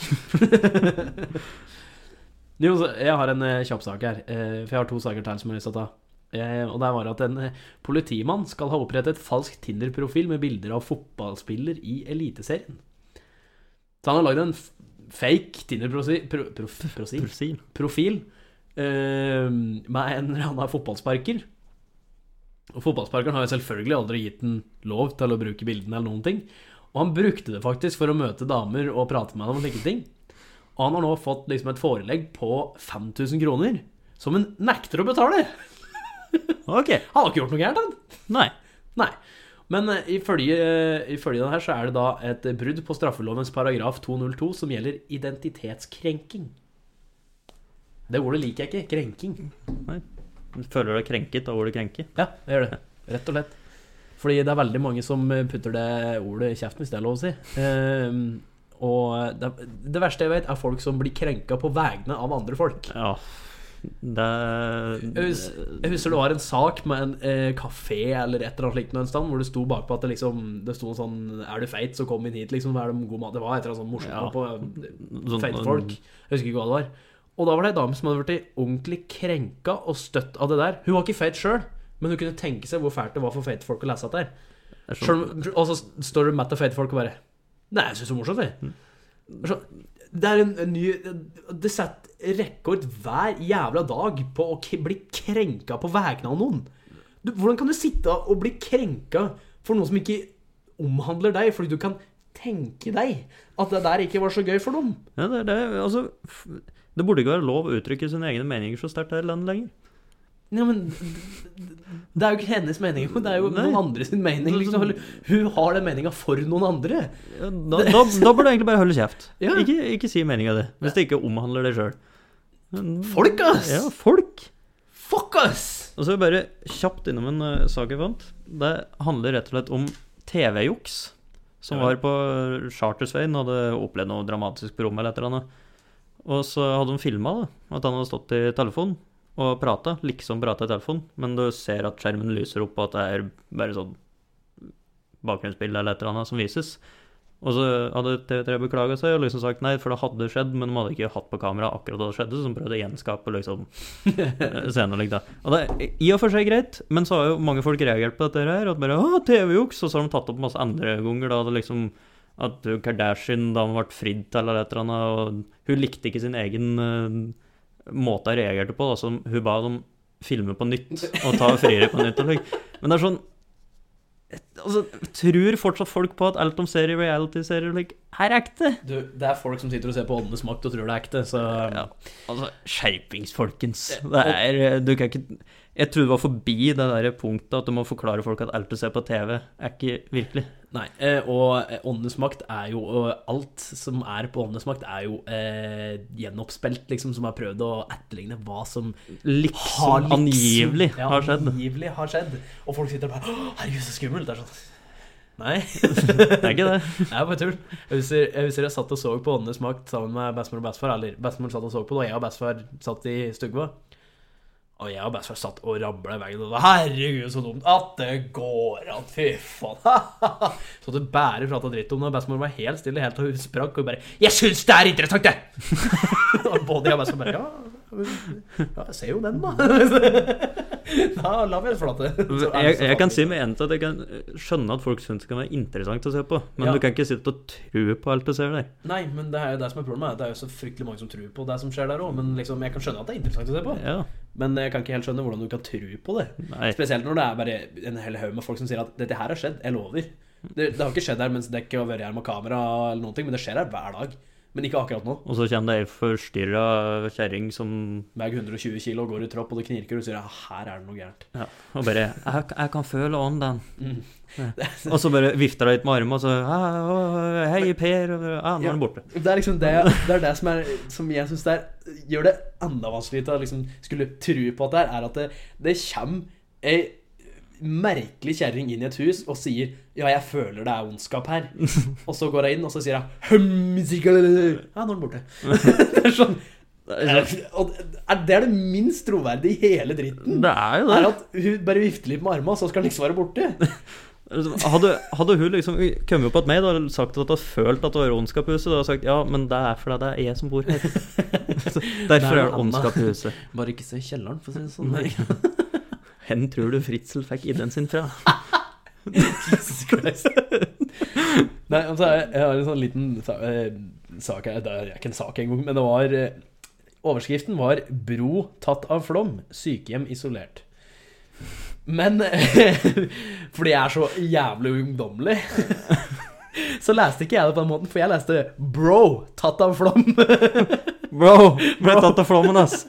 Jo, så jeg har en eh, kjapp sak her, eh, for jeg har to saker til som jeg har lyst til å ta. Eh, og der var det at en eh, politimann skal ha opprettet falsk Tinder-profil med bilder av fotballspiller i Eliteserien. Så han har lagd en f fake Tinder-profil pro pro prosil-
Prosil.
profil eh, med en eller annen fotballsparker. Og fotballsparkeren har jo selvfølgelig aldri gitt den lov til å bruke bildene eller noen ting. Og han brukte det faktisk for å møte damer og prate med dem om slike ting. Og han har nå fått liksom et forelegg på 5000 kroner, som han nekter å betale!
<laughs> Ok.
Han har ikke gjort noe gærent, han.
Nei.
Nei. Men eh, ifølge, eh, ifølge den her så er det da et brudd på straffelovens paragraf 202 som gjelder identitetskrenking. Det ordet liker jeg ikke. Krenking.
Du føler deg krenket av ordet krenke.
Ja, jeg gjør det. Rett og slett. Fordi det er veldig mange som eh, putter det ordet i kjeften, hvis det er lov å si. Ehm, og det, det verste jeg vet, er folk som blir krenka på vegne av andre folk.
Ja. Det
Jeg hus- jeg husker det var en sak med en eh, kafé eller et eller annet slikt noe en stand, hvor det sto bakpå at det liksom Det sto en sånn 'Er du feit, så kom inn hit', liksom. Er det, god mat? det var et eller annet sånn morsomt
Ja.
på
sånn-
feite folk. Jeg husker ikke hva det var. Og da var det ei dame som hadde blitt ordentlig krenka og støtt av det der. Hun var ikke feit sjøl, men hun kunne tenke seg hvor fælt det var for feite folk å lese dette her.
det er
Selv
sånn-
om- Og så står du mett av feite folk og bare Nei, jeg syns det er morsomt, jeg. Så, det er en, en ny Det setter rekord hver jævla dag på å k bli krenka på vegne av noen. Du, hvordan kan du sitte og bli krenka for noe som ikke omhandler deg, fordi du kan tenke deg at det der ikke var så gøy for dem?
Ja, det, er det, altså, f- det burde ikke være lov å uttrykke sine egne meninger så sterkt her i landet lenger.
Nei, men d- d- Det er jo ikke hennes mening, men det er jo
Nei.
noen andre sin mening. Liksom. Eller, Hun har den meninga for noen andre.
Ja, Da, da, da burde du egentlig bare holde kjeft.
Ja.
Ikke, ikke si meninga di, hvis det ikke omhandler deg sjøl.
Folk, ass!
Ja, folk.
Fuck, ass!
Og så er jeg bare kjapt innom en eh, sak jeg fant. Det handler rett og slett om TV-juks. Som
Ja.
var på Chartersveien, hadde opplevd noe dramatisk på rommet eller et eller annet. Og så hadde de filma at han hadde stått i telefonen og prata, liksom prata i telefonen, men du ser at skjermen lyser opp, og at det er bare sånn bakgrunnsbilde eller et eller annet som vises. Og så hadde TV3 beklaga seg og liksom sagt nei, for det hadde skjedd, men de hadde ikke hatt på kamera akkurat da det skjedde, så de prøvde å gjenskape liksom <laughs> scenen. og likt, da. Og det er i og for seg greit, men så har jo mange folk reagert på dette her, at bare å, TV-juks, og så har de tatt opp masse andre ganger, da det liksom at Kardashian da hun ble fridd til eller et eller annet, og hun likte ikke sin egen eh, måte hun reagerte på, da, så hun ba dem filme på nytt og ta friere på nytt. og slik. Men det er sånn altså, Tror fortsatt folk på at alt de ser i reality-serier, like, er ekte?
Du, det er folk som sitter og ser på Åndenes makt og tror det er ekte, så
Ja, altså, skjerpings, folkens. Det er, eh, du kan ikke Jeg tror det var forbi det der punktet at du må forklare folk at alt du ser på TV, er ikke virkelig.
Nei. eh, Og eh, Åndenes makt er jo og Alt som er på Åndenes makt, er jo eh, gjenoppspilt, liksom, som har prøvd å etterligne hva som
Liksom angivelig
ja,
har skjedd.
Angivelig har skjedd. Og folk sitter og bare «Å, Herregud, så skummelt. Det er sånn Nei.
Det er ikke det.
<laughs> Det er bare tull. Jeg husker, jeg husker jeg satt og så på Åndenes makt sammen med bestemor og bestefar. Eller bestemor satt og så på det, og jeg og bestefar satt i stugva. Og jeg og bestefar satt og rabla i veggen. Og det var, herregud, så dumt at det går an! Fy faen! <laughs> så det bare prata dritt om det. og Bestemor var helt stille helt til hun sprakk og bare 'Jeg syns det er interessant, det!' og både jeg <laughs> og bestemor bare 'Ja, ja jeg ser jo den, da'. <laughs> da lar vi oss flate. Så er det
Jeg,
så
jeg kan
fattig.
si med en til at jeg kan eh, skjønne at folk syns det kan være interessant å se på, men
Ja.
du kan ikke sitte og tro på alt du ser der.
Nei, men det er jo det som er problemet. er at Det er jo så fryktelig mange som tror på det som skjer der òg. Men liksom, jeg kan skjønne at det er interessant å se på.
Ja,
Men jeg kan ikke helt skjønne hvordan du kan tro på det.
nei.
Spesielt når det er bare en hel haug med folk som sier at 'dette her har skjedd, jeg lover'. Det, det har ikke skjedd her mens det ikke har vært her med kamera, eller noen ting, men det skjer her hver dag. Men ikke akkurat nå.
Og så kommer det ei forstyrra kjerring som
Veier 120 kilo og går i tropp, og det knirker, og du sier «Ja, 'her er det noe gærent'.
ja, Og bare jeg, 'Jeg kan føle ånden'.
Mm. <laughs>
Og så bare vifter hun litt med armen, og så «Ah, å, 'Hei, Per', og ja, nå er han borte.
Det er liksom det, det, er det som, er, som jeg syns gjør det enda vanskeligere til å liksom skulle tro på at det er, er at det, det kommer ei merkelig kjerring inn i et hus og sier 'Ja, jeg føler det er ondskap <laughs> her'. og så går hun inn, og så sier hun «Hm, sikkert det». Ja, nå er den borte. <laughs> det er sånn er- og er- Det er det minst troverdige i hele dritten.
Det er jo det.
Er at hun bare vifter litt med armene, og så skal hun liksom være borte.
sånn, Hadde, hadde hun liksom kommet opp at meg da, og sagt at hun følte at det var ondskap i huset, da hadde jeg sagt 'ja, men det er fordi det er jeg som
<laughs>
bor her'. Så Derfor er det ondskap i huset.
Bare ikke se kjelleren, for å si det sånn. <laughs> Nei.
Hen tror du Fritzel fikk ideen sin fra?
Jesus Christ. <laughs> Nei, altså, jeg, jeg har en sånn liten sa- eh, sak her. Det er ikke en sak engang, men det var eh, Overskriften var 'Bro tatt av flom. Sykehjem isolert'. Men <laughs> fordi jeg er så jævlig ungdommelig, <laughs> så leste ikke jeg det på den måten, for jeg leste 'Bro', tatt av flom. <laughs>
Bro, ble tatt av flommen, ass.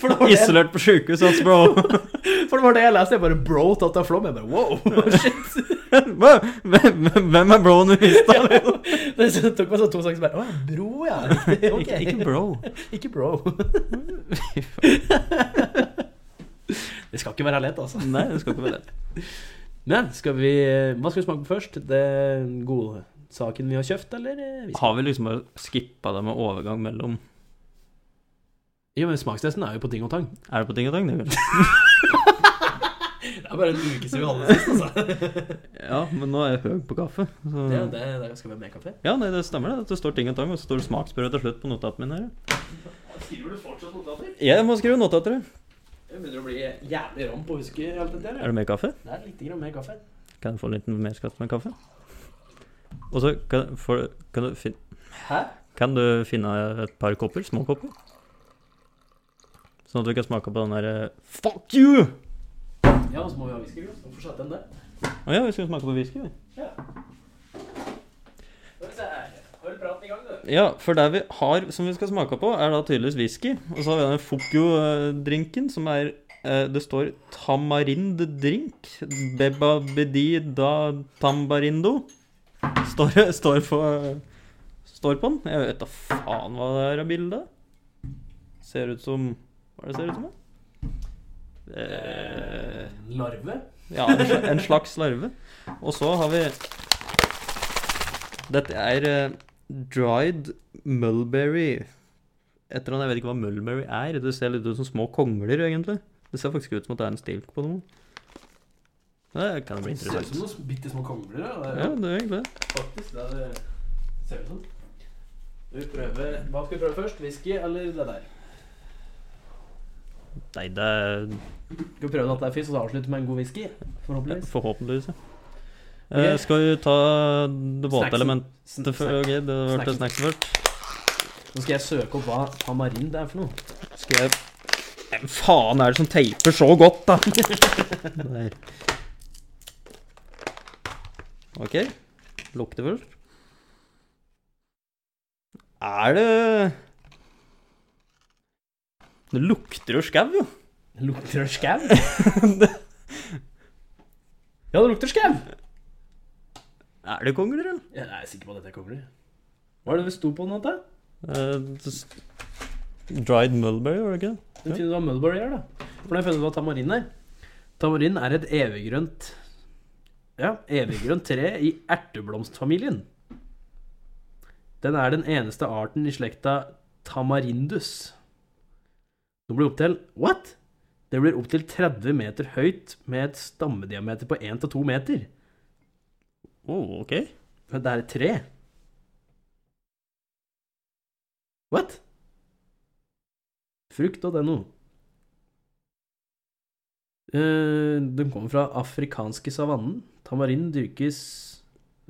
For det var det, jeg-
Isolert på sjukehus, ass, bro. <laughs>
for det, var det jeg leste. Jeg bare 'Bro, tatt av flom'. Jeg bare wow, <laughs> shit.
Hvem, hvem er broen du visste?
Ja, men- det så- tok meg så to saker som bare Å, ja, bro, ja.
<laughs>
<laughs> Riktig, ok.
Ikke, ikke bro.
Ikke bro. <laughs> Det skal ikke være lett, altså.
Nei, det skal ikke være det.
Men skal vi, eh, hva skal vi smake på først? Det gode saken vi har kjøpt, eller? eh, vi skal-
Har vi liksom bare skippa det med overgang mellom
Jo, men smakstesten er jo på ting og tang.
Er det på ting og tang? det vel?
Det er bare en uke siden vi hadde det <laughs> sist, altså.
Ja, men nå er jeg høy på kaffe. Så.
Det, det, det skal vi ha med kaffe.
Ja, nei, det stemmer det. at Det står ting og tang, og så står det smaksprøve til slutt på notatene mine. her.
Skriver du fortsatt notater?
Jeg må skrive notater. jeg.
Jeg begynner å bli jævlig ram på å huske alt dette her.
Er det mer kaffe?
Det er litt grann mer kaffe.
Kan jeg få litt mer skatt med kaffe? Og så kan, får- kan, du fin-
Hæ?
kan du finne et par kopper, små kopper? Sånn at vi kan smake på den der eh, Fuck you!
Ja, og så må vi ha whiskyglass. Hvorfor satte den der?
Å ja, vi skal smake på whisky, vi.
Ja. Skal vi se her. Hold praten i gang, du.
Ja, for det vi har som vi skal smake på, er da tydeligvis whisky. Og så har vi den Fokyo-drinken, som er eh, Det står tamarind-drink. Bebabedi da tambarindo. Står, <laughs> står, på, står på den. Jeg vet da faen hva det er av bilde. Ser ut som Hva er det ser ut som? da? Eh,
Larve.
ja, en sla- en slags larve. Og så har vi Dette er eh, dried mulberry. Et eller annet, Jeg vet ikke hva mulberry er. Det ser litt ut som små kongler, egentlig. Det ser faktisk ut som at det er en stilk på noe. Det kan bli
Ser ut
interessant.
som noen bitte små kongler. da. Det er
Ja,
jo
det er egentlig det.
faktisk det det ser ut som. Vi prøver, Hva skal vi prøve først? Whisky eller det der?
Nei, det er
Skal vi prøve at det er fisk, og så avslutte med en god whisky? Forhåpentligvis.
forhåpentligvis, ja. Eh,
Ok.
skal vi ta det
Snacksen.
våte elementet
Sn-
før? Ok, det ble
Snacksen.
snacksen først.
Nå skal jeg søke opp hva tamarind er for noe.
Skal jeg Hvem faen er det som teiper så godt, <laughs> da? Der. OK. Lukter først. Er det Det lukter jo skau, jo.
Lukter det
<laughs>
skau? ja, det lukter skau!
Er det kongler, eller?
Jeg er sikker på at dette kommer. Hva er det det sto på den? Ante?
Eh, det s- dried mulberry, var det ikke det?
Den finner du hva Mulberry er, da. For den finner du hva tamarind er. Tamarind er et eviggrønt Ja, eviggrønt tre i erteblomstfamilien. Den er den eneste arten i slekta tamarindus. Det blir opptil What?! Det blir opptil 30 meter høyt med et stammediameter på 1-2 meter.
Å, oh, OK.
Men det er et tre. What? Frukt.no. Eh, den kommer fra afrikanske savannen. Tamarind dyrkes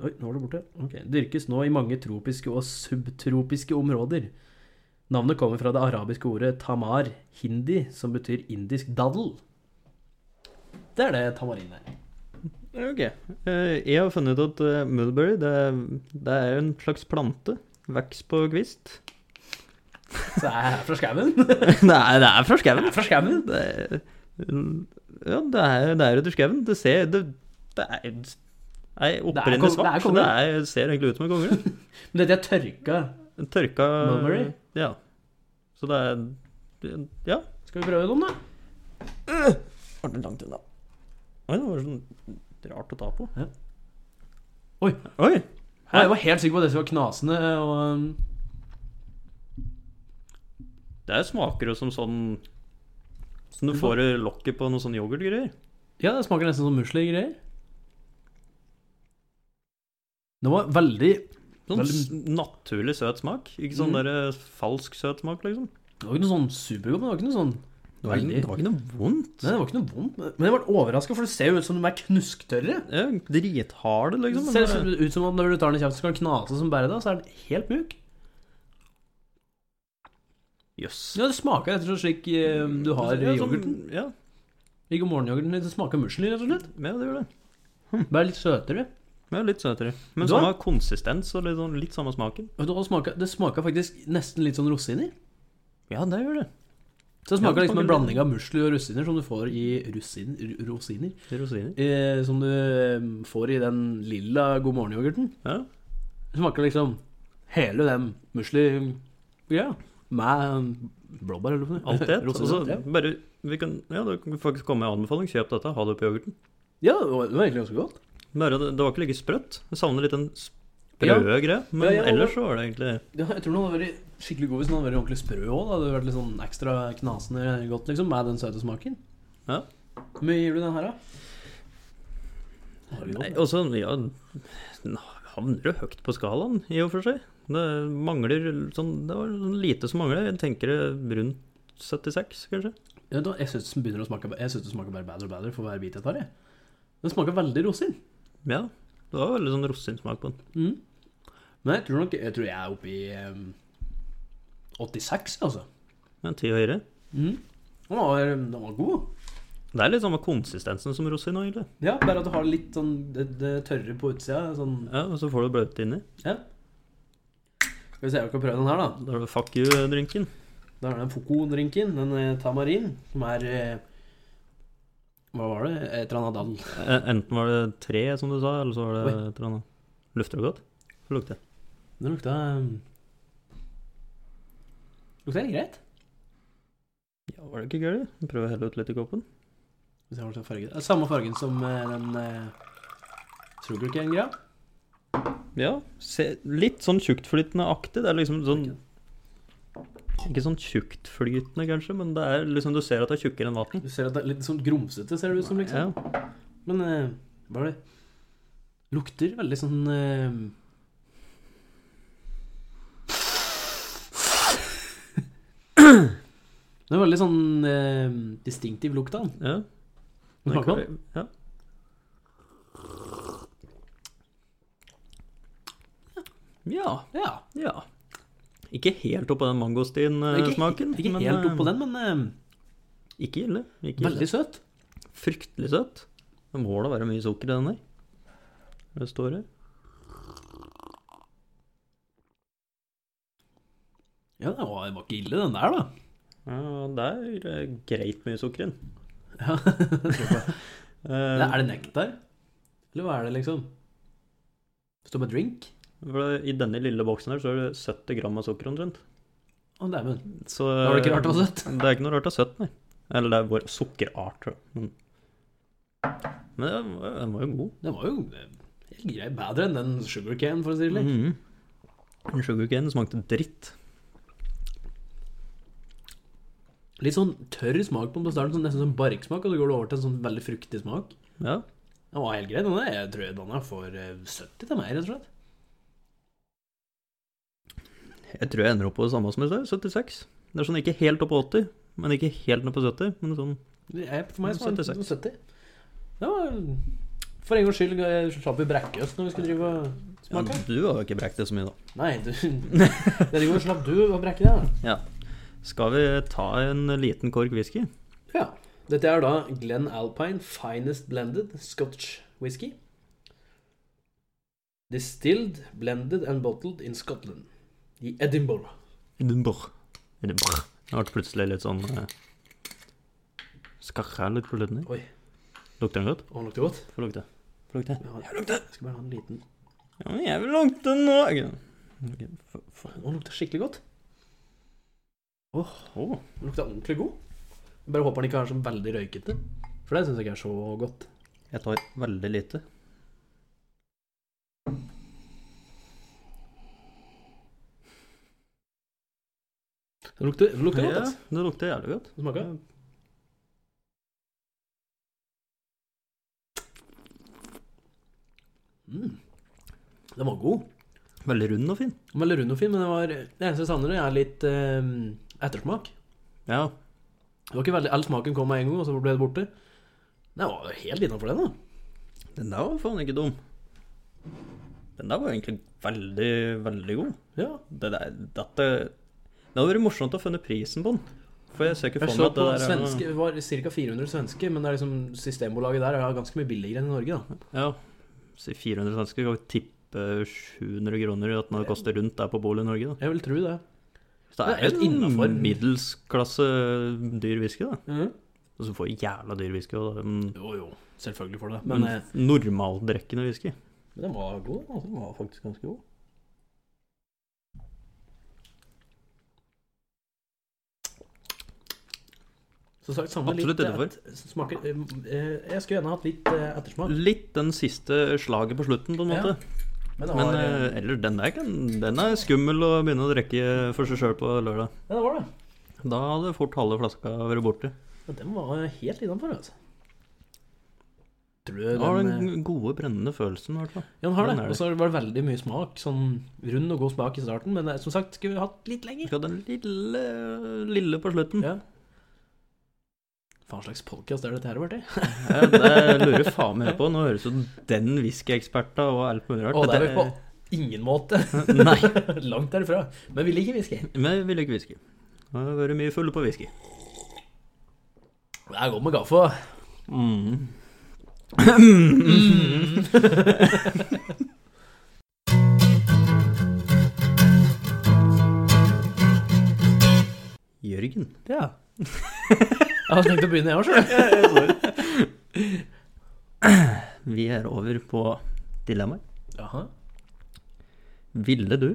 Oi, nå var det borte. Ok. Dyrkes nå i mange tropiske og subtropiske områder. Navnet kommer fra det arabiske ordet tamar hindi, som betyr indisk daddel. Det er det tamarind er.
Ok. Eh, Jeg har funnet ut at eh, mulberry det, det er en slags plante. Vokser på kvist.
Så er jeg fra skauen. <laughs>
<laughs> Nei, det er fra skauen.
Jeg er fra skauen.
Det er, ja, det er, det er etter skauen. Det ser Det, det er Nei, opprinnelig
kong- det er
svart. så
kongle.
Det er, ser egentlig ut som en kongle.
Men dette er tørka.
En Tørka
Mulberry?
Ja. Så det er Ja.
Skal vi prøve noen, da?
Var det langt unna? Oi, det var sånn rart å ta på.
Ja. Oi.
Oi!
Ja, jeg var helt sikker på at dette var knasende. Og, um,
Det er smaker jo som sånn Som du får i lokket på noe sånn yoghurtgreier.
ja, det smaker nesten som musli-greier. Det var veldig Det
Sånn s- naturlig søt smak. Ikke sånn
Mm.
der falsk søt smak, liksom.
var ikke noe sånn supergodt, men det var ikke noe sånn
Det var,
veldig-
det var ikke noe vondt.
Nei, det var ikke noe vondt. men- Men jeg ble overraska, for det ser jo ut som de er knusktørre.
Ja, dritharde,
Det
liksom.
ser som- ut som om når du tar den i kjeften, så kan den knase som bare det, og så er den helt mjuk.
Jøss.
Ja, det smaker rett og slett slik um, du har i
Ja, som-
yoghurten.
Ja.
Riggo morgenyoghurten din smaker musli, rett og slett.
Ja, det gjør det.
Bare litt søtere.
Ja, litt søtere. Men
Du har-
samme konsistens og litt, sånn, litt samme smaken.
Og det smaker, det smaker faktisk nesten litt sånn rosiner.
Ja, det gjør det.
Så det
Ja,
smaker
det
liksom en
smaker
blanding av musli og rosiner som du får i rusin, ru- rosiner.
Det er Rosiner.
Eh, som du eh, får i den lilla god morgen-yoghurten.
Ja.
Det smaker liksom hele den musli-greia. Med blåbær, eller hva
Alt
det
det. <laughs>
er.
Altså, bare vi kan, ja, det kan faktisk komme med en anbefaling. Kjøp dette. Ha det på yoghurten.
Ja, det var det var egentlig ganske godt.
Bare det, det var ikke like sprøtt. Jeg savner litt den sprø greia. Men
Ja, ja, og-
ellers så var det egentlig
Ja, jeg tror den hadde vært skikkelig god hvis den hadde vært ordentlig sprø òg. Det hadde vært litt sånn ekstra knasende godt liksom, med den søte smaken.
Ja.
Hvor mye gir du den her, da? Har du noe?
Nei, altså, også, ja den Havner jo høyt på skalaen, i og for seg. Det mangler sånn Det var sånn lite som mangler. Jeg tenker det rundt 76, kanskje.
Vet du hva, Jeg syns den begynner å smake Jeg synes den smaker bare bedre og bedre for hver bit jeg tar. Jeg. Den smaker veldig rosin.
Ja. Det var veldig sånn rosinsmak på den.
Mm. Men jeg tror nok Jeg tror jeg er oppe i em, 86, altså.
Men ti høyere.
Mm. Den, var, den var god.
Det er litt samme konsistensen som rosin nå, egentlig.
Ja, bare at du har litt sånn det, det tørre på utsida. Sånn
Ja, og så får du bløte inni.
Ja. Skal vi se om vi kan prøve den her, da.
Da er det fuck you-drinken.
Da er det den Foco-drinken, den eh, tamarin, som er eh, Hva var det? Et eller annet dall.
Eh, Enten var det tre, som du sa, eller så var det et eller annet. Lufter det godt? Det lukter.
Det lukta eh, Lukta helt greit.
Ja, var det ikke gøy? Prøv å helle ut litt i koppen.
Hvis jeg har tatt fargen. Det er Samme fargen som eh, den eh, Strugelken-greia.
Ja, se, litt sånn tjuktflytende-aktig. Det er liksom sånn Ikke sånn tjuktflytende, kanskje, men det er liksom du ser at det er tjukkere enn vann.
Du ser at det er litt sånn grumsete, ser det ut som. liksom.
Ja.
Men eh, hva er det Lukter veldig sånn eh, <clears throat> Det er veldig sånn eh, distinktiv lukt av den.
ja.
Den smaker godt.
Ja. ja.
Ja.
Ja. Ikke helt oppå den
Ikke-
mangostinsmaken.
Ikke
Eh, men,
helt
eh,
oppå den, men eh,
Ikke ille. Ikke ille.
veldig søt.
Fryktelig søt. Det må da være mye sukker i den der. Det står her.
Ja, det var, det var ikke ille, den der, da. <laughs>
Ja, det er eh, greit mye sukker i den.
Ja, jeg tror på det.
Eh,
er det nektar? Eller hva er det, liksom? Står på drink?
for det- I denne lille boksen her så er det 70 gram av sukker omtrent.
Å, dæven.
Så mm,
Da var det ikke rart det var søtt.
Det er ikke noe rart det er søtt, nei. Eller det er vår sukkerart, tror jeg. Men, men den var- den var jo god.
Den var jo eh, helt grei. Bedre enn den sugarcane, for å si det litt.
Mm. Den Sugarcane smakte dritt.
Litt sånn tørr smak på den på starten, sånn nesten sånn barksmak, og så går det over til en sånn veldig fruktig smak.
Ja.
Den var helt grei, den der. Jeg tror jeg den er for eh, 70 til meg, rett og slett.
Jeg tror jeg ender opp på det samme som i sted, 76. Det er sånn ikke helt opp på 80, men ikke helt ned på 70. Men sånn
Jeg, for meg så var den
76.
70. Det var For en gangs skyld eh, slapp vi brekke oss når vi skulle drive og
ja,
smake.
Du har jo ikke brekt det så mye, da.
Nei, du <laughs> Denne gangen slapp du å brekke deg. da.
Skal vi ta en liten kork whisky?
Ja. Dette er da Glenn Alpine Finest Blended Scotch Whisky. Distilled, blended and bottled in Scotland. I Edinburgh.
Edinburgh. Edinburgh. Det ble plutselig litt sånn eh, Skarra litt på lyden. her.
Oi.
Lukter den godt?
Å, den lukter godt.
Få lukte. Få lukte.
Ja, jeg lukter. Jeg skal bare ha en liten
Ja, men jeg vil lukte nå. Ok, få- få-
Å, Den lukter skikkelig godt.
Åh.
Den lukter ordentlig god. Jeg bare håper den ikke er så veldig røykete. For det syns jeg ikke er så godt.
Jeg tar veldig lite.
Den lukter, den lukter
Ja,
godt, altså.
det lukter jævlig godt.
Den smaker. Mm. Den var god.
Veldig rund og fin.
Den var Veldig rund og fin, men det, var, det eneste jeg savner, er litt eh, ettersmak.
Ja.
Det var ikke veldig, All smaken kom med en gang, og så ble det borte. Det var jo helt innafor, den. da
Den der var faen ikke dum. Den der var egentlig veldig, veldig god.
Ja,
Det der, dette Det hadde vært morsomt å finne prisen på den. For for jeg ser ikke
Jeg
for meg
så
at
på
det der er
svenske, det var ca. 400 svenske, men det er liksom, Systembolaget der er ganske mye billigere enn i Norge, da.
noe Ja, si 400 svensker kan vi tippe 700 kroner i at det koster rundt der på bolig i Norge, da.
Jeg vil tro det.
Så det
Det er
er
helt
jo
innenfor.
innenfor middelsklasse dyr whisky, da.
Mhm.
Og så får vi jævla dyr whisky. Og, da, mm,
Jo, jo. Selvfølgelig får du det. Men,
men
eh,
normaldrekkende whisky.
men den var god. Altså, den var faktisk ganske god. Som sagt, savner litt
Absolutt
eh,
innenfor.
et- smaker, eh, eh, Jeg skulle gjerne hatt litt eh, ettersmak.
Litt den siste slaget på slutten, på en
Ja,
måte.
Men det
Men
var, eh,
eh, eller den der, kan, den er skummel å begynne å drikke for seg sjøl på lørdag.
ja, det var det.
Da hadde fort halve flaska vært borte.
Men den var helt innafor, altså. Tror du
Da
den,
har du
eh,
den gode, brennende følelsen, i hvert fall.
Ja, den har
den
det.
er
Og så var det veldig mye smak. Sånn rund og god smak i starten, men eh, som sagt, skulle vi hatt litt lenger.
Skal den lille, lille på slutten.
Ja. Faen slags podkast er dette her, Bertil?
Ja, det lurer faen meg på. Nå høres jo den whiskyeksperta og alt mulig rart
Å, det er vi
Dette
på ingen måte. <laughs>
Nei,
Langt derifra. Men vi liker whisky.
men jeg vil ikke whisky. Det har vært mye fulle på whisky.
Det er godt med gaffa.
Mm. Jørgen.
Ja. Jeg hadde tenkt å begynne, jeg òg, sjøl.
Vi er over på dilemmaer.
<laughs> Jaha.
Ville du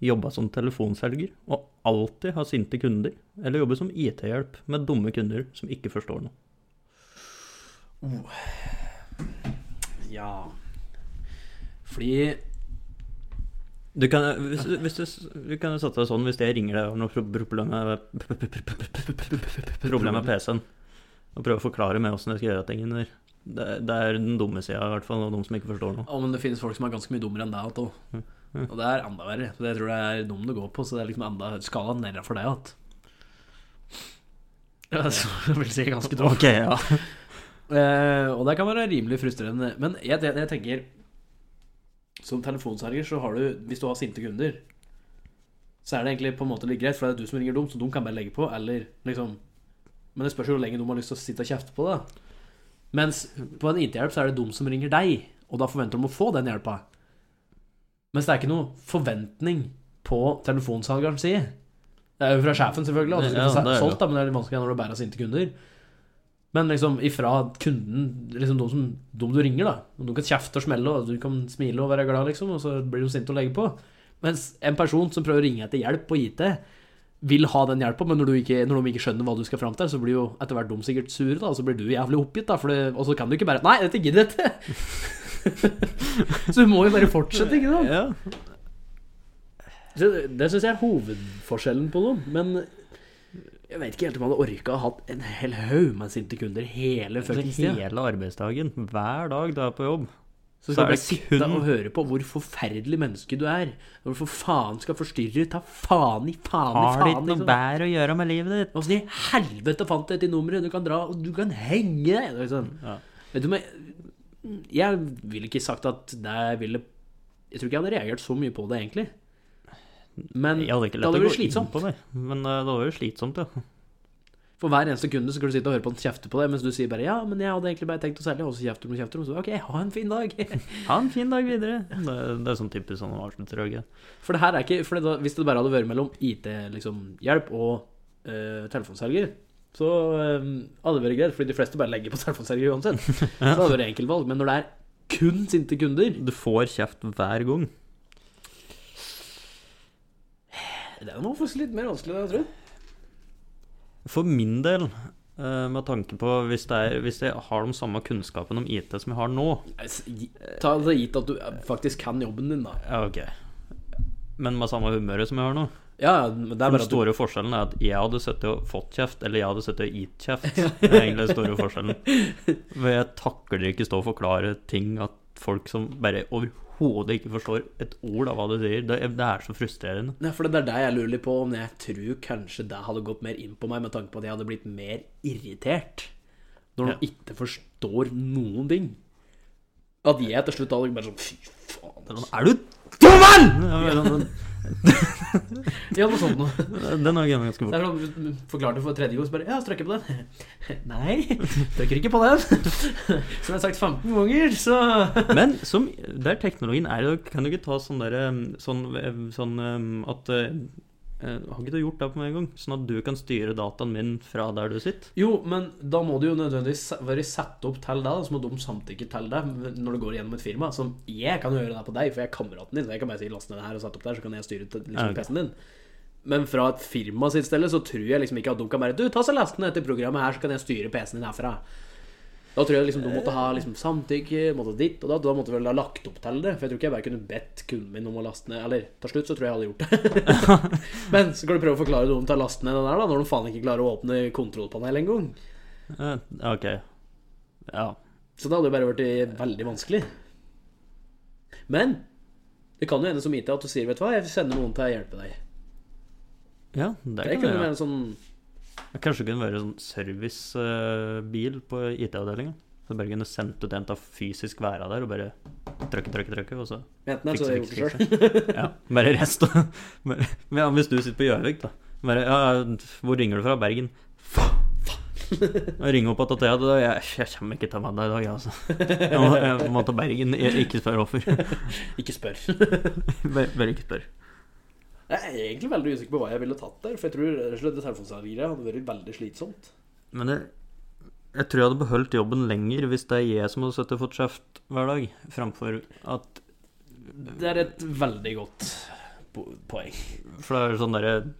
jobba som telefonselger og alltid ha sinte kunder, eller jobbe som IT-hjelp med dumme kunder som ikke forstår noe?
Ja. Fordi
Du kan, hvis, du- hvis du, du kan jo sette deg sånn hvis jeg ringer deg og har noe pro- problem med, problem med PC-en, og prøver å forklare med åssen jeg skal gjøre tingene der. Det, det er den dumme sida, i hvert fall, og de som ikke forstår noe.
Å, men det finnes folk som er ganske mye dummere enn deg, Otto.
Ja.
Og det er enda verre. Så jeg tror det er dum du går på, så det er liksom enda skalaen nærmere for deg igjen. Ja, <laughs> så jeg vil si ganske dum.
Ok, ja.
Eh, og det kan være rimelig frustrerende. Men jeg, jeg, jeg tenker Som telefonselger så har du Hvis du har sinte kunder, så er det egentlig på en måte litt greit, for det er du som ringer dem, så de kan bare legge på, eller liksom Men det spørs jo hvor lenge de har lyst til å sitte og kjefte på det. da. Mens på en IT-hjelp så er det de som ringer deg, og da forventer de å få den hjelpa. Mens det er ikke noe forventning på telefonsalgerens side. Det er jo fra sjefen, selvfølgelig, at du skal
Ja,
få
det er
se-
det jo.
solgt, da, men det er litt vanskelig når du bærer sinte kunder. Men liksom ifra kunden, liksom de, som, de du ringer, da. De kan kjefte og smelle, og du kan smile og være glad, liksom, og så blir de sinte og legger på. Mens en person som prøver å ringe etter hjelp på IT, vil ha den hjelpa, men når, du ikke, når de ikke skjønner hva du skal fram til, så blir jo etter hvert de sikkert sure, da, og så blir du jævlig oppgitt, da, for det, og så kan du ikke bare Nei, dette gidder jeg ikke! <laughs> så du må jo bare fortsette, ikke sant?
<laughs> ja.
Så det det syns jeg er hovedforskjellen på dem. Men jeg vet ikke helt om jeg hadde orka å hatt en hel haug med sinte kunder hele fuckings
Altså,
tida.
hele arbeidsdagen, hver dag du er på jobb.
Så
så
skal
er
du bare
det
sitte
kun-
og høre på hvor forferdelig menneske du er. og Hvorfor faen skal forstyrre? Ta faen i faen i
Har du
faen.
ikke noe
Liksom.
bedre å gjøre med livet ditt?
Åssen i helvete fant du dette nummeret? Du kan dra, og du kan henge deg! Liksom.
Ja.
Vet du, men jeg ville ikke sagt at det ville Jeg tror ikke jeg hadde reagert så mye på det, egentlig. Men
Jeg hadde
det
ikke lett
hadde
å gå
vært
inn
slitsomt.
på det, men eh, det hadde vært slitsomt, ja.
For hver eneste kunde så skal du sitte og høre på han kjefte på deg, mens du sier bare 'ja, men jeg hadde egentlig bare tenkt å selge', og så kjefter de og kjefter de, og så 'ok, ha en fin dag'.
Ha en fin dag videre. Det, det er sånn typisk sånn avsluttrøye.
For det her er ikke For det da, hvis det bare hadde vært mellom IT-hjelp liksom, hjelp og eh, telefonselger, så eh, hadde det vært greit, fordi de fleste bare legger på <laughs> telefonselger uansett. Så hadde det vært enkeltvalg. Men når det er kun sinte kunder
Du får kjeft hver gang.
Det er noe faktisk litt mer vanskelig, det, jeg tror.
For min del, eh, med tanke på hvis, det er, hvis jeg har den samme kunnskapen om IT som jeg har nå
Altså, gi- Ta det gitt at du eh, faktisk kan jobben din, da.
Ja, ok. Men med samme humøret som jeg har nå.
Ja, ja, men det er
Den
bare at du
store forskjellen er at jeg hadde sittet og fått kjeft, eller jeg hadde sittet og gitt
<laughs>
kjeft. Det er egentlig den store forskjellen. For jeg takler ikke stå og forklare ting at folk som bare overhodet ikke forstår et ord av hva du sier, det, det er så frustrerende.
Nei, for det er der jeg lurer litt på om jeg tror kanskje det hadde gått mer inn på meg, med tanke på at jeg hadde blitt mer irritert når noen ikke forstår noen ting. sånn, At jeg til slutt hadde bare sånn Fy faen.
Er du dum, mann?!
<laughs> Ja, noe sånt noe.
<laughs> Den har jeg ganske
Det
fort.
er sånn, du forklarte for tredje gang, så bare Ja, strøkker på den. <laughs> Nei, trykker ikke på den. <laughs> Som jeg har sagt 15 ganger, så <laughs>
Men som, der teknologien er, da kan du ikke ta sånn derre sånn, sånn um, at eh, Har ikke du gjort det på meg en gang? Sånn at du kan styre dataen min fra der du sitter?
Jo, men da må du jo nødvendigvis være satt opp til det, da, så må de samtykke til det når du går gjennom et firma. Som jeg kan jo gjøre det på deg, for jeg er kameraten din. Så jeg kan bare si 'last ned det her og sett opp der', så kan jeg styre til
Ja,
liksom,
ok.
PC-en din. Men fra et firma sitt stelle så tror jeg liksom ikke at de kan bare 'Du, ta så last ned dette programmet her, så kan jeg styre PC-en din herfra'. Da tror jeg liksom du måtte ha liksom samtykke, måtte ditt og da. Da måtte du vel ha lagt opp til det. For jeg tror ikke jeg bare kunne bedt kunden min om å laste ned. Eller til slutt så tror jeg jeg hadde gjort det. <laughs> Men så kan du prøve å forklare noe om til å laste ned den der, da, når de faen ikke klarer å åpne kontrollpanelet engang.
Eh, ok. Ja.
Så det hadde jo bare vært eh, veldig vanskelig. Men det kan jo hende som IT at du sier 'vet du hva, jeg sender noen til å hjelpe deg'.
Ja, det,
Det
kan du
kunne være
gjøre.
en sånn
Kanskje det kunne være sånn servicebil på IT-avdelinga. Så bare kunne sendt ut en til å fysisk være der og bare trykke, trykke, trykke, og så
Enten her, så
fikse,
har jeg gjort
fikse,
det sjøl.
fikse. Ja, bare rest. da. Bare- Men ja, hvis du sitter på Gjøvik, da. Bare, ja, hvor ringer du fra? Bergen. Ringe opp at Thea da, jeg, jeg kommer ikke til mandag i dag, jeg, altså. Jeg må, jeg må til Bergen. Jeg, ikke spør hvorfor.
Ikke spør.
Bare, bare ikke spør.
<laughs> Jeg er egentlig veldig usikker på hva jeg ville tatt der, for jeg tror rett og slett det telefonsalgeret hadde vært veldig slitsomt.
Men jeg, jeg tror jeg hadde beholdt jobben lenger hvis det er jeg som hadde sittet og fått kjeft hver dag, framfor at
Det er et veldig godt po- poeng.
For det er jo sånn derre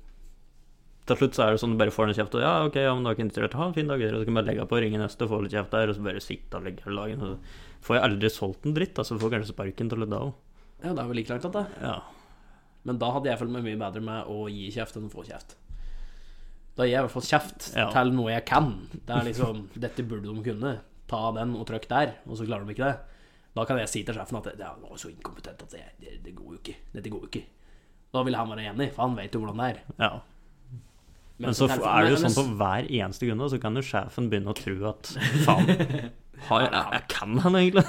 Til slutt så er det sånn du bare får den kjeft, og ja, ok, ja, men du har ikke interessert, ha en fin dag videre, og så kan du bare legge på og ringe neste og få litt kjeft der, og så bare sitte og legge hele dagen. og Så får jeg aldri solgt en dritt, da, så får jeg kanskje sparken til litt da òg.
Ja, det er vel like langt, dette.
Ja.
Men da hadde jeg følt meg mye bedre med å gi kjeft enn å få kjeft. Da gir jeg i hvert fall kjeft
Ja.
til noe jeg kan. Det er liksom <laughs> Dette burde de kunne. Ta den og trykk der, og så klarer de ikke det. Da kan jeg si til sjefen at det det var så inkompetent at det, det, det går jo ikke. Dette går jo ikke. Da vil han være enig, for han vet jo hvordan det er.
ja. Men så f- er det jo sånn på hver eneste grunn, da, så kan jo sjefen begynne å tro at faen
<laughs>
har jeg, jeg kan han egentlig?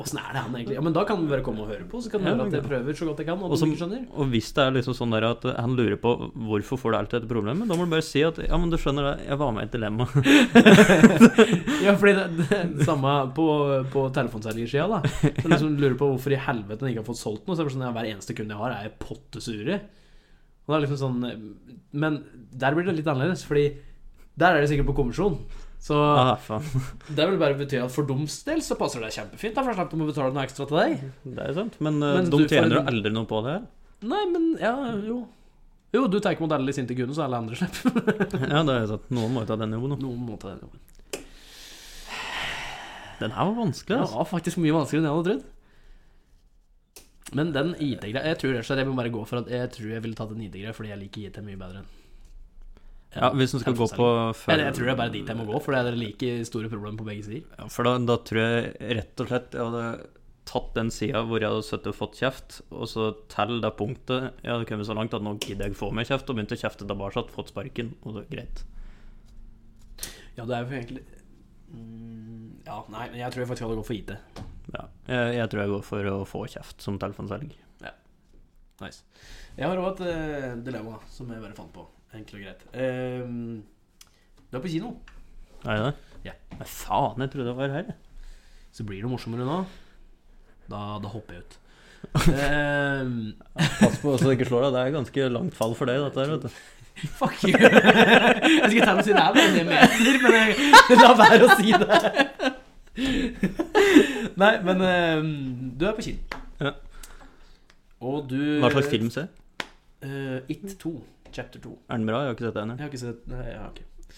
Åssen er det han egentlig Ja, men da kan han bare komme og høre på, så kan det
Ja,
høre at
det
jeg prøver så godt jeg kan, og
Og,
de
som,
ikke skjønner.
og hvis det er liksom sånn der at han lurer på hvorfor får du alltid dette problemet, da må du bare si at ja, men du skjønner det, jeg var med i et dilemma.
Ja, fordi det, det samme på, på telefonselgersida, da. Så liksom lurer på hvorfor i helvete den ikke har fått solgt noe. Så er det bare sånn, ja, Hver eneste kunde jeg har, er pottesure. Og det er liksom sånn Men der blir det litt annerledes, fordi der er det sikkert på kommisjon. Så
<laughs> Ah, faen.
det vil bare bety at for deres del så passer det kjempefint. Da, for da slapp de å betale noe ekstra til deg.
Det er jo sant. Men, eh,
Men
de
du får
tjener jo
en-
aldri noe på det her.
Nei, men ja, jo. Jo, du tar ikke mot alle de sinte kundene, så alle andre slipper.
Ja, det er sant. Noen må jo ta den jobben.
Noen må ta den jobben.
Den her var vanskelig,
Det
altså.
var faktisk mye vanskeligere enn jeg hadde trodd. Men den IT-greia Jeg tror rett og slett jeg må bare gå for at jeg tror jeg ville tatt en IT-greie fordi jeg liker IT mye bedre enn
Ja, hvis den skal gå på før
Eller jeg tror det er bare dit jeg må gå, for det er like store problemer på begge sider.
Ja, For da, da tror jeg rett og slett jeg hadde tatt den sida hvor jeg hadde sittet og fått kjeft, og så til det punktet jeg hadde kommet så langt at nå gidder jeg ikke få mer kjeft, og begynte å kjefte tilbake, fått sparken, og det er greit.
Ja, det er jo egentlig Mm, Ja, nei, men jeg tror jeg faktisk hadde gått for IT.
Ja. Jeg, jeg tror jeg går for å få kjeft som telefonselg.
Nice. Jeg har òg et eh, dilemma som jeg bare fant på. Enkelt og greit. Uh, du er på kino,
Er det det?
Ja.
Nei, faen, jeg trodde det var her. jeg.
så blir det morsommere nå. Da, da hopper <laughs> jeg ut. Eh,
Pass på så du ikke slår deg. Det er ganske langt fall for deg, dette her. vet du.
Fuck you. <laughs> Jeg skulle til å si det er bare en meter, men jeg <laughs> la være å si det. <laughs> Nei, men eh, du er på kino.
Ja.
Og du
Hva slags film ser jeg?
Eh, It 2. Chapter 2.
Er den bra? Jeg har ikke sett den ennå.
Jeg har ikke sett Nei, jeg har ikke.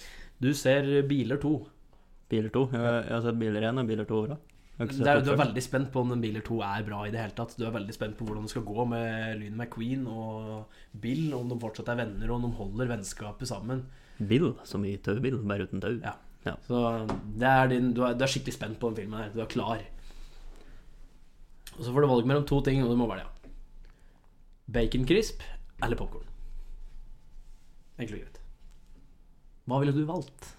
Du ser Biler 2.
Biler 2. Jeg, jeg har sett Biler 1 og Biler 2 bra. Jeg har ikke
Det
sett
er,
opp
du er
før.
veldig spent på om den Biler 2 er bra i det hele tatt. Du er veldig spent på hvordan det skal gå med Lyn McQueen og Bill, om de fortsatt er venner, og om de holder vennskapet sammen.
Bill, som i taubil, bare uten tau.
Ja. Så det er din, du, er, du er skikkelig spent på den filmen her. Du er klar. Og så får du valg mellom to ting, og du må velge. Bacon crisp eller popkorn. Enkelt og greit. Hva ville du valgt?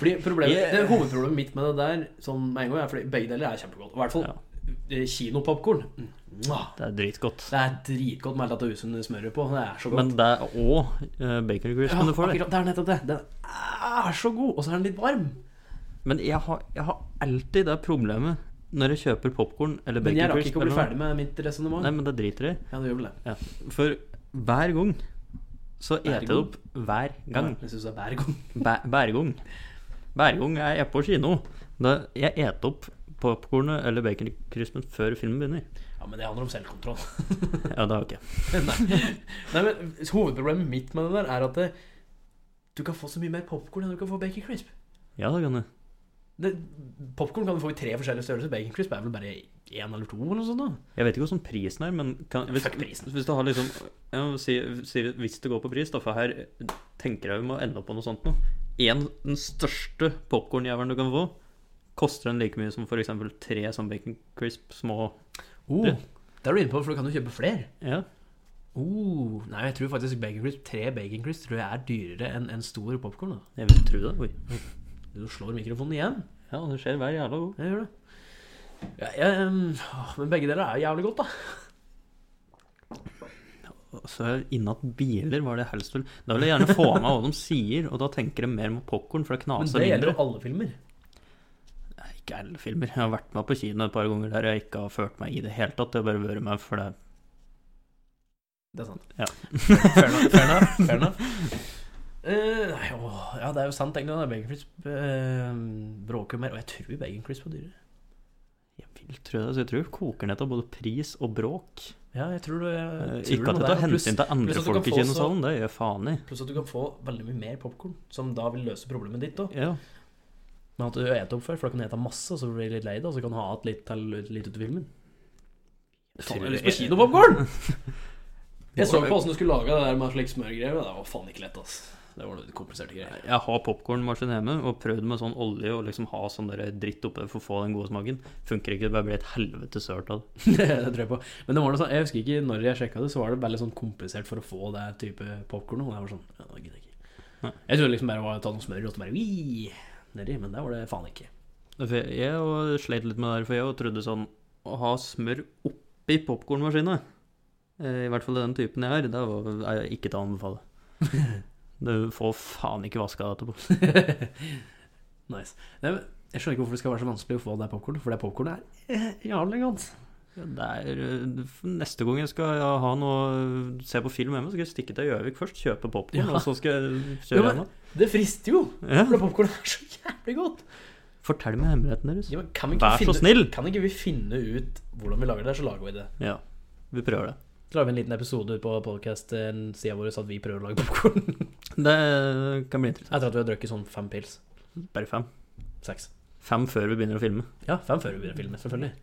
Fordi problemet,
Jeg-
det Hovedproblemet mitt med det der sånn med en gang er fordi begge deler er kjempegodt. I hvert fall
Ja.
kinopopkorn. Mwah.
Det er dritgodt.
Det er dritgodt med latausen smøret på. Det er så godt.
Men det er òg bacon crisp når du får det.
akkurat, det er nettopp det. Den er så god, og så er den litt varm.
Men jeg har, jeg har alltid det problemet når jeg kjøper popkorn eller
Men
bacon
jeg rakk
crisp
ikke å
eller
bli
noe.
ferdig med mitt resonnement.
Nei, men det driter jeg i.
Ja, det gjør vel det.
Ja. For hver gang så
Hver
eter jeg det opp. Hver gang.
Ja, jeg synes det er hver gang.
Bæ- Hver gang. Hver gang jeg er på kino. Da jeg eter opp popkornet eller bacon crispen før filmen begynner.
Ja, men det handler om selvkontroll.
Ja, det har jeg ikke.
Nei, men Hovedproblemet mitt med det der er at det, du kan få så mye mer popkorn enn du kan få bacon crisp.
Ja, det kan jeg.
Popkorn kan du få i tre forskjellige størrelser. Bacon crisp er vel bare én eller to? eller noe sånt da
Jeg vet ikke hvordan prisen er, men kan, hvis,
Fuck prisen.
hvis du har liksom ja, si, si, Hvis det går på pris, da, for her tenker jeg vi må ende opp på noe sånt noe. En, den største popkornjævelen du kan få, koster den like mye som f.eks. tre sånn bacon crisp små
Oh,
Det-
det er du inne på, for du kan jo kjøpe flere.
Ja,
Oh, nei, jeg tror faktisk bacon crisp, tre bacon crisp tror jeg er dyrere enn en stor popkorn.
jeg vil tro det. Oi.
Du slår mikrofonen igjen.
Ja, det skjer hver jævla god.
Jeg gjør det. Ja, jeg, um, åh, men begge deler er jo jævlig godt, da.
Så Innat biler var det jeg helst vil Da vil jeg gjerne få med hva de sier, og da tenker jeg mer mot popkorn, for det
Men
knaser
det gjelder
mindre.
jo alle filmer.
Nei, Ikke alle filmer. Jeg har vært med på kino et par ganger der jeg ikke har følt meg i det hele tatt. Jeg har bare vært med for det.
Det er sant.
Ja.
<laughs> Fair enough. Fair enough, fair enough.
<laughs>
Eh, nei, åh, ja, det er jo sant, egentlig. da. Bacon crisp eh, bråker mer. Og jeg tror bacon crisp er dyrere.
Jeg vil tro det, så jeg tror det koker ned av både pris og bråk.
Ja, jeg tror det.
Eh,
Jeg tror
Ikke at
det
jeg
må
tar
være. Pluss-
hensyn til
pluss
andre
at du kan
folk
få
i
så-
kinosalen, det gjør jeg faen i.
Pluss at du kan få veldig mye mer popkorn, som da vil løse problemet ditt òg.
Ja.
Men at du spiser opp før, for da kan du spise masse, og så blir du litt lei deg, og så kan du ha igjen litt til litt utover filmen. Faen, jeg har lyst på kinopopkorn!
<laughs>
Jeg så på åssen du skulle lage det der med slik smørgreier. men Det var faen ikke lett, ass. Det var noe kompliserte greier.
Jeg har popkornmaskin hjemme og prøvd med sånn olje og liksom ha sånn der dritt oppi for å få den gode smaken. Funker ikke, det bare blir et helvete sølt av det.
<laughs> det tror jeg på. Men det var noe sånn, jeg husker ikke når jeg sjekka det, så var det veldig sånn komplisert for å få det type popkorn. Og jeg var sånn ja, nå gidder jeg ikke.
Nei.
Jeg trodde liksom bare det var å ta noe smør og så bare «Ui!» nedi, men det var det faen ikke. <laughs>
For Jeg jeg jo sleit litt med det her, for jeg jo trodde sånn å ha smør oppi popkornmaskina, i hvert fall den typen jeg har, det var er ikke til
<laughs>
å anbefale. Du får faen ikke vaska det etterpå.
nice. Nei, men jeg skjønner ikke hvorfor det skal være så vanskelig å få det popkornet, for det popkornet er eh, jævlig godt.
Ja, Det er, øh, neste gang jeg skal ha noe se på film hjemme, så skal jeg stikke til Gjøvik først, kjøpe popkorn,
Ja.
og så skal jeg
Jo,
kjøre
men-
hjem.
Det frister jo,
da.
for
Ja.
det popkornet er så jævlig godt.
Fortell meg hemmeligheten deres.
Ja, men kan, vi ikke
Vær så
finne,
snill!
kan ikke vi finne ut hvordan vi lager det, så lager vi det.
Ja, vi prøver det.
Så lager vi en liten episode ut på podkast-sida vår så at vi prøver å lage popkorn. <laughs>
Det kan bli interessant.
Etter at vi har drukket sånn fem pils.
Bare fem.
Seks.
Fem før vi begynner å filme.
Ja, fem før vi begynner å filme, selvfølgelig.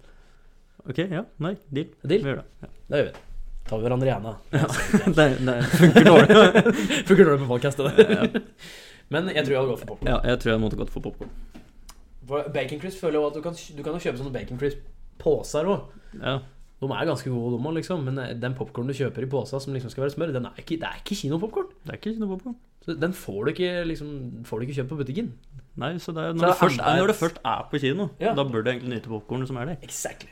Ok, ja, nei, deal.
Deal.
Vi gjør det. Ja.
Det gjør vi. Tar vi hverandre i <laughs> henda.
<laughs> det, det funker
<laughs>
dårlig.
Funker dårlig på podcast, det der. Men jeg tror jeg hadde gått for popcorn.
Ja, jeg tror jeg måtte gått for popkorn.
For Bacon crisp føler jeg jo at du kan, du kan jo kjøpe sånne bacon crisp-poser òg.
Ja.
De er ganske gode, de òg, liksom. Men den popkornen du kjøper i posa som liksom skal være smør, den er ikke, det er ikke kinopopkorn.
Det er ikke noe popkorn.
Så Den får du ikke liksom, får du ikke kjøpt på butikken.
Nei, så det er
Så
når, du først,
enda et-
når du først er på kino,
Ja.
da bør du egentlig nyte popkornet som er der.
Exactly.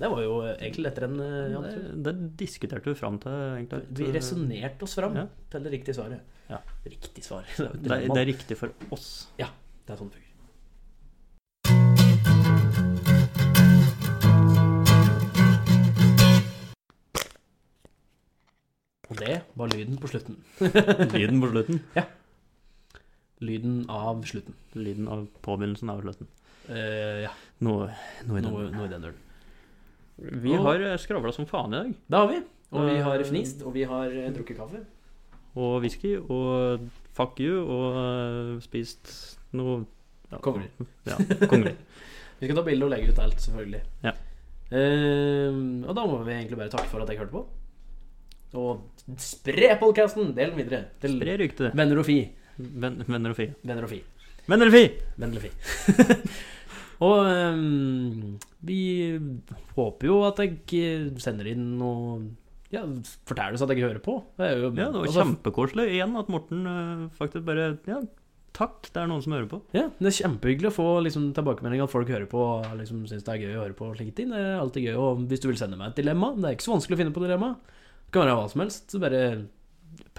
Det var jo egentlig lettere enn eh, jeg
Det,
hadde trodd.
det diskuterte vi fram til, egentlig.
Vi resonnerte oss fram
Ja.
til det riktige svaret.
Ja.
Riktig svar. <laughs> Det er, jo et
det, er-
dilemma.
det er riktig for oss.
<laughs> Det er sånn det fungerer. Og det var lyden på slutten.
Lyden på slutten.
Lyden av slutten.
Lyden av påbegynnelsen av slutten.
Eh, ja,
Noe, noe i den.
noe, noe i den duren.
Vi har skravla som faen i dag.
Det har vi. Og vi har fnist, og vi har eh, drukket kaffe.
Og whisky og fuck you og eh, spist noe ja,
Kongelig.
<laughs> Ja, kongelig.
Vi skal ta bilde og legge ut alt, selvfølgelig.
Ja.
Eh, og da må vi egentlig bare takke for at jeg hørte på. Og spre podkasten! Del den videre til
Spre ryktet.
venner og fi.
Venn- Venner og fi.
Venner og fi.
Venner og fi!
Vennlig fi. <laughs> og ehm, vi håper jo at jeg ikke sender inn noe ja, Forteller oss at jeg ikke hører på. Det er jo,
Ja, det var
altså,
kjempekoselig igjen at Morten eh, faktisk bare Ja, Takk, det er noen som hører på.
Ja, det er kjempehyggelig å få liksom, tilbakemelding at folk hører på og liksom, syns det er gøy å høre på slike ting. Det er alltid gøy. Og hvis du vil sende meg et dilemma, det er ikke så vanskelig å finne på dilemma. Det kan være hva som helst. Så bare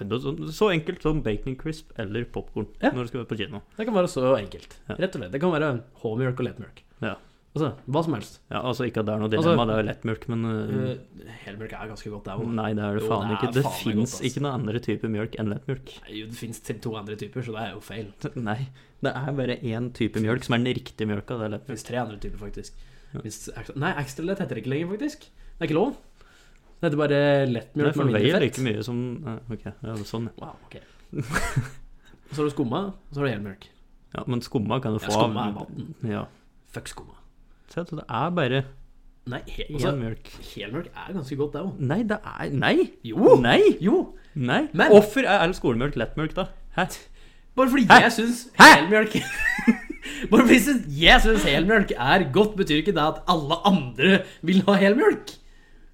Så- sånn- Så enkelt som bacon crisp eller popkorn
Ja.
når du skal være på kino.
Det kan være så enkelt.
Ja.
Rett og slett. Det kan være håmjølk og lettmjølk.
Ja.
Altså, hva som helst.
Ja, altså ikke at det er noe
Altså-
dilemma, det er jo lettmjølk, men øh,
Uh, helmjølk er ganske godt, det òg.
Nei, det er det
Jo,
faen
det er
ikke. Det
faen meg
fins
godt, ass.
ikke noen andre type mjølk enn lettmjølk.
Det fins to andre typer, så det er jo feil.
<laughs> Nei, det er bare én type mjølk som er den riktige mjølka. Det er
Det
lettmjølk.
fins tre andre typer, faktisk.
Ja.
Hvis ekstra, nei, ekstralett heter det ikke lenger, faktisk. Det er ikke lov. Det heter bare
Det
lettmjølk
for
med
den veier
mindre
like
fett.
mye som ja, Ok, ja, det er sånn. ja.
Wow, ok. så har du skumma, og så har du helmjølk.
Ja, men skumma kan du
Ja,
få av
skumma er vann.
Ja.
Fuck skumma.
Se, altså, det er bare
Nei, he
én
altså,
mjølk.
helmjølk er ganske godt, det òg.
Nei, det er Nei!
Jo!
Nei!
Jo!
Nei!
Men-
Hvorfor er all skolemjølk lettmjølk, da? Hæ?
Bare fordi
Hæ?
jeg syns
Hæ?
helmjølk <laughs> Bare fordi jeg syns- jeg syns helmjølk er godt, betyr ikke det at alle andre vil ha helmjølk.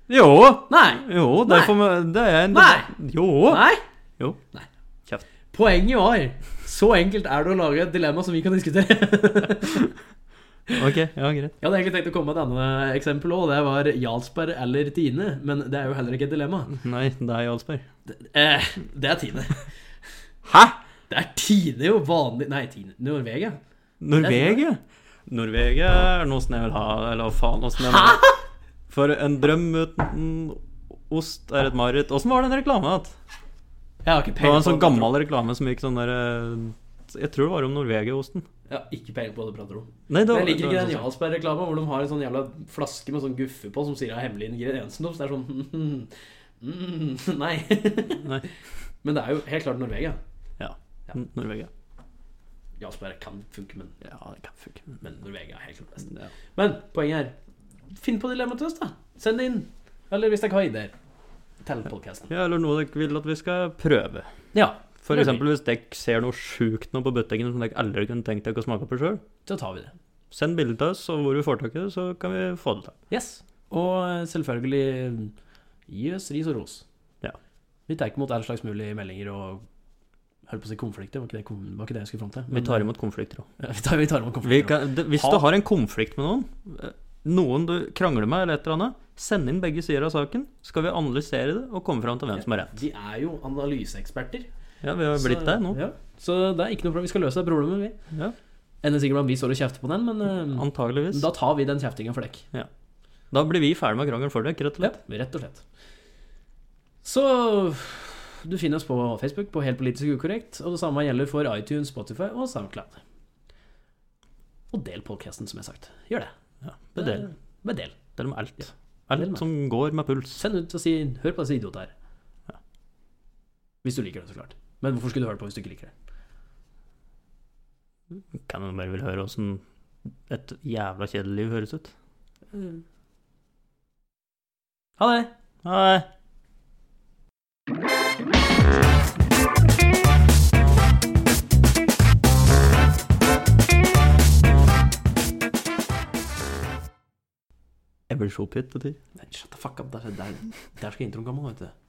Jo!
Nei.
Jo, derfor må Det er en
Nei.
Jo!
Nei.
Jo.
Nei.
Kjeft.
Poenget var så enkelt er det å lage et dilemma som vi kan diskutere. <laughs>
Ok, ja, greit.
Jeg hadde egentlig tenkt å komme med et annet eksempel òg. Det var Jarlsberg eller Tine. Men det er jo heller ikke et dilemma.
Nei, det er Jarlsberg.
Eh, det er Tine.
Hæ?!
Det er Tine, jo. Vanlig Nei, Tine. Norvegia.
Norvegia? Norvegia er noe som jeg vil ha, eller hva faen åssen jeg vil ha. For en drøm uten ost er et mareritt. Åssen var den reklama? at?
Jeg har ikke
Det var
peiling
en sånn gammel reklame som gikk sånn der eh, Jeg tror det var om Norvegia-osten.
Jeg har ikke peiling på hva du prater om.
Nei,
Men
det var,
Jeg liker
det
ikke
var
den
sånn-
Jarlsberg-reklama hvor de har en sånn jævla flaske med sånn guffe på som sier det er hemmelig ingrediensen deres. Det er sånn <laughs> mm, <laughs> Nei.
sånn- Nei.
Men det er jo helt klart Norvegia.
Ja.
Ja.
N- Norvegia.
Jarlsberg kan funke, men,
Ja, det kan funke.
men Norvegia er helt klart best.
Ja.
Men poenget er Finn på dilemmaet til oss, da. Send det inn. Eller hvis dere har ideer. Til podkasten.
ja, eller noe dere vil at vi skal prøve.
Ja,
For
Mulig.
eksempel hvis dere ser noe sjukt nå på butikken som dere aldri kunne tenkt dere å smake på sjøl,
da tar vi det.
send bilde til oss, og hvor vi får tak i det, så kan vi få det til.
Yes. Og eh, selvfølgelig gi oss ris og ros.
Ja.
Vi tar imot all slags mulige meldinger og holdt på å si konflikter. Var ikke det, kon- var ikke det jeg skulle fram til?
Vi tar imot konflikter òg.
Ja, <laughs> vi tar, vi tar imot
Vi
konflikter.
kan, det, hvis
Ha-
du har en konflikt med noen, eh, noen du krangler med eller et eller annet, send inn begge sider av saken, skal vi analysere det og komme fram til hvem som har rett.
Vi er jo analyseeksperter.
Ja, vi har blitt
så-
det nå.
Ja. Så det er ikke noe problem. Vi skal løse det problemet, vi.
Ja, Um,
Enn det sikkert om vi står og kjefter på den, men eh,
antageligvis.
da tar vi den kjeftinga for dekk.
Da blir vi ferdig med krangelen for deg, rett og
Ja,
slett.
rett og slett. Så du finner oss på Facebook på Helt politisk ukorrekt, og det samme gjelder for iTunes, Spotify og SoundCloud. Og del podcasten, som jeg har sagt. Gjør det.
Ja, bedel.
Bedel.
Bedel med alt.
bedel med.
Alt som går med puls.
Send ut og si 'hør på disse idiotene her'. Hvis du liker det, så klart. Men hvorfor skulle du høre på hvis du ikke liker det?
Kan man bare vil høre åssen et jævla kjedelig liv høres ut.
Ha det!
Nei. Jeg blir så oppgitt til tider.
Nei, shut the fuck up. Der, der, der skal introen komme, vet du.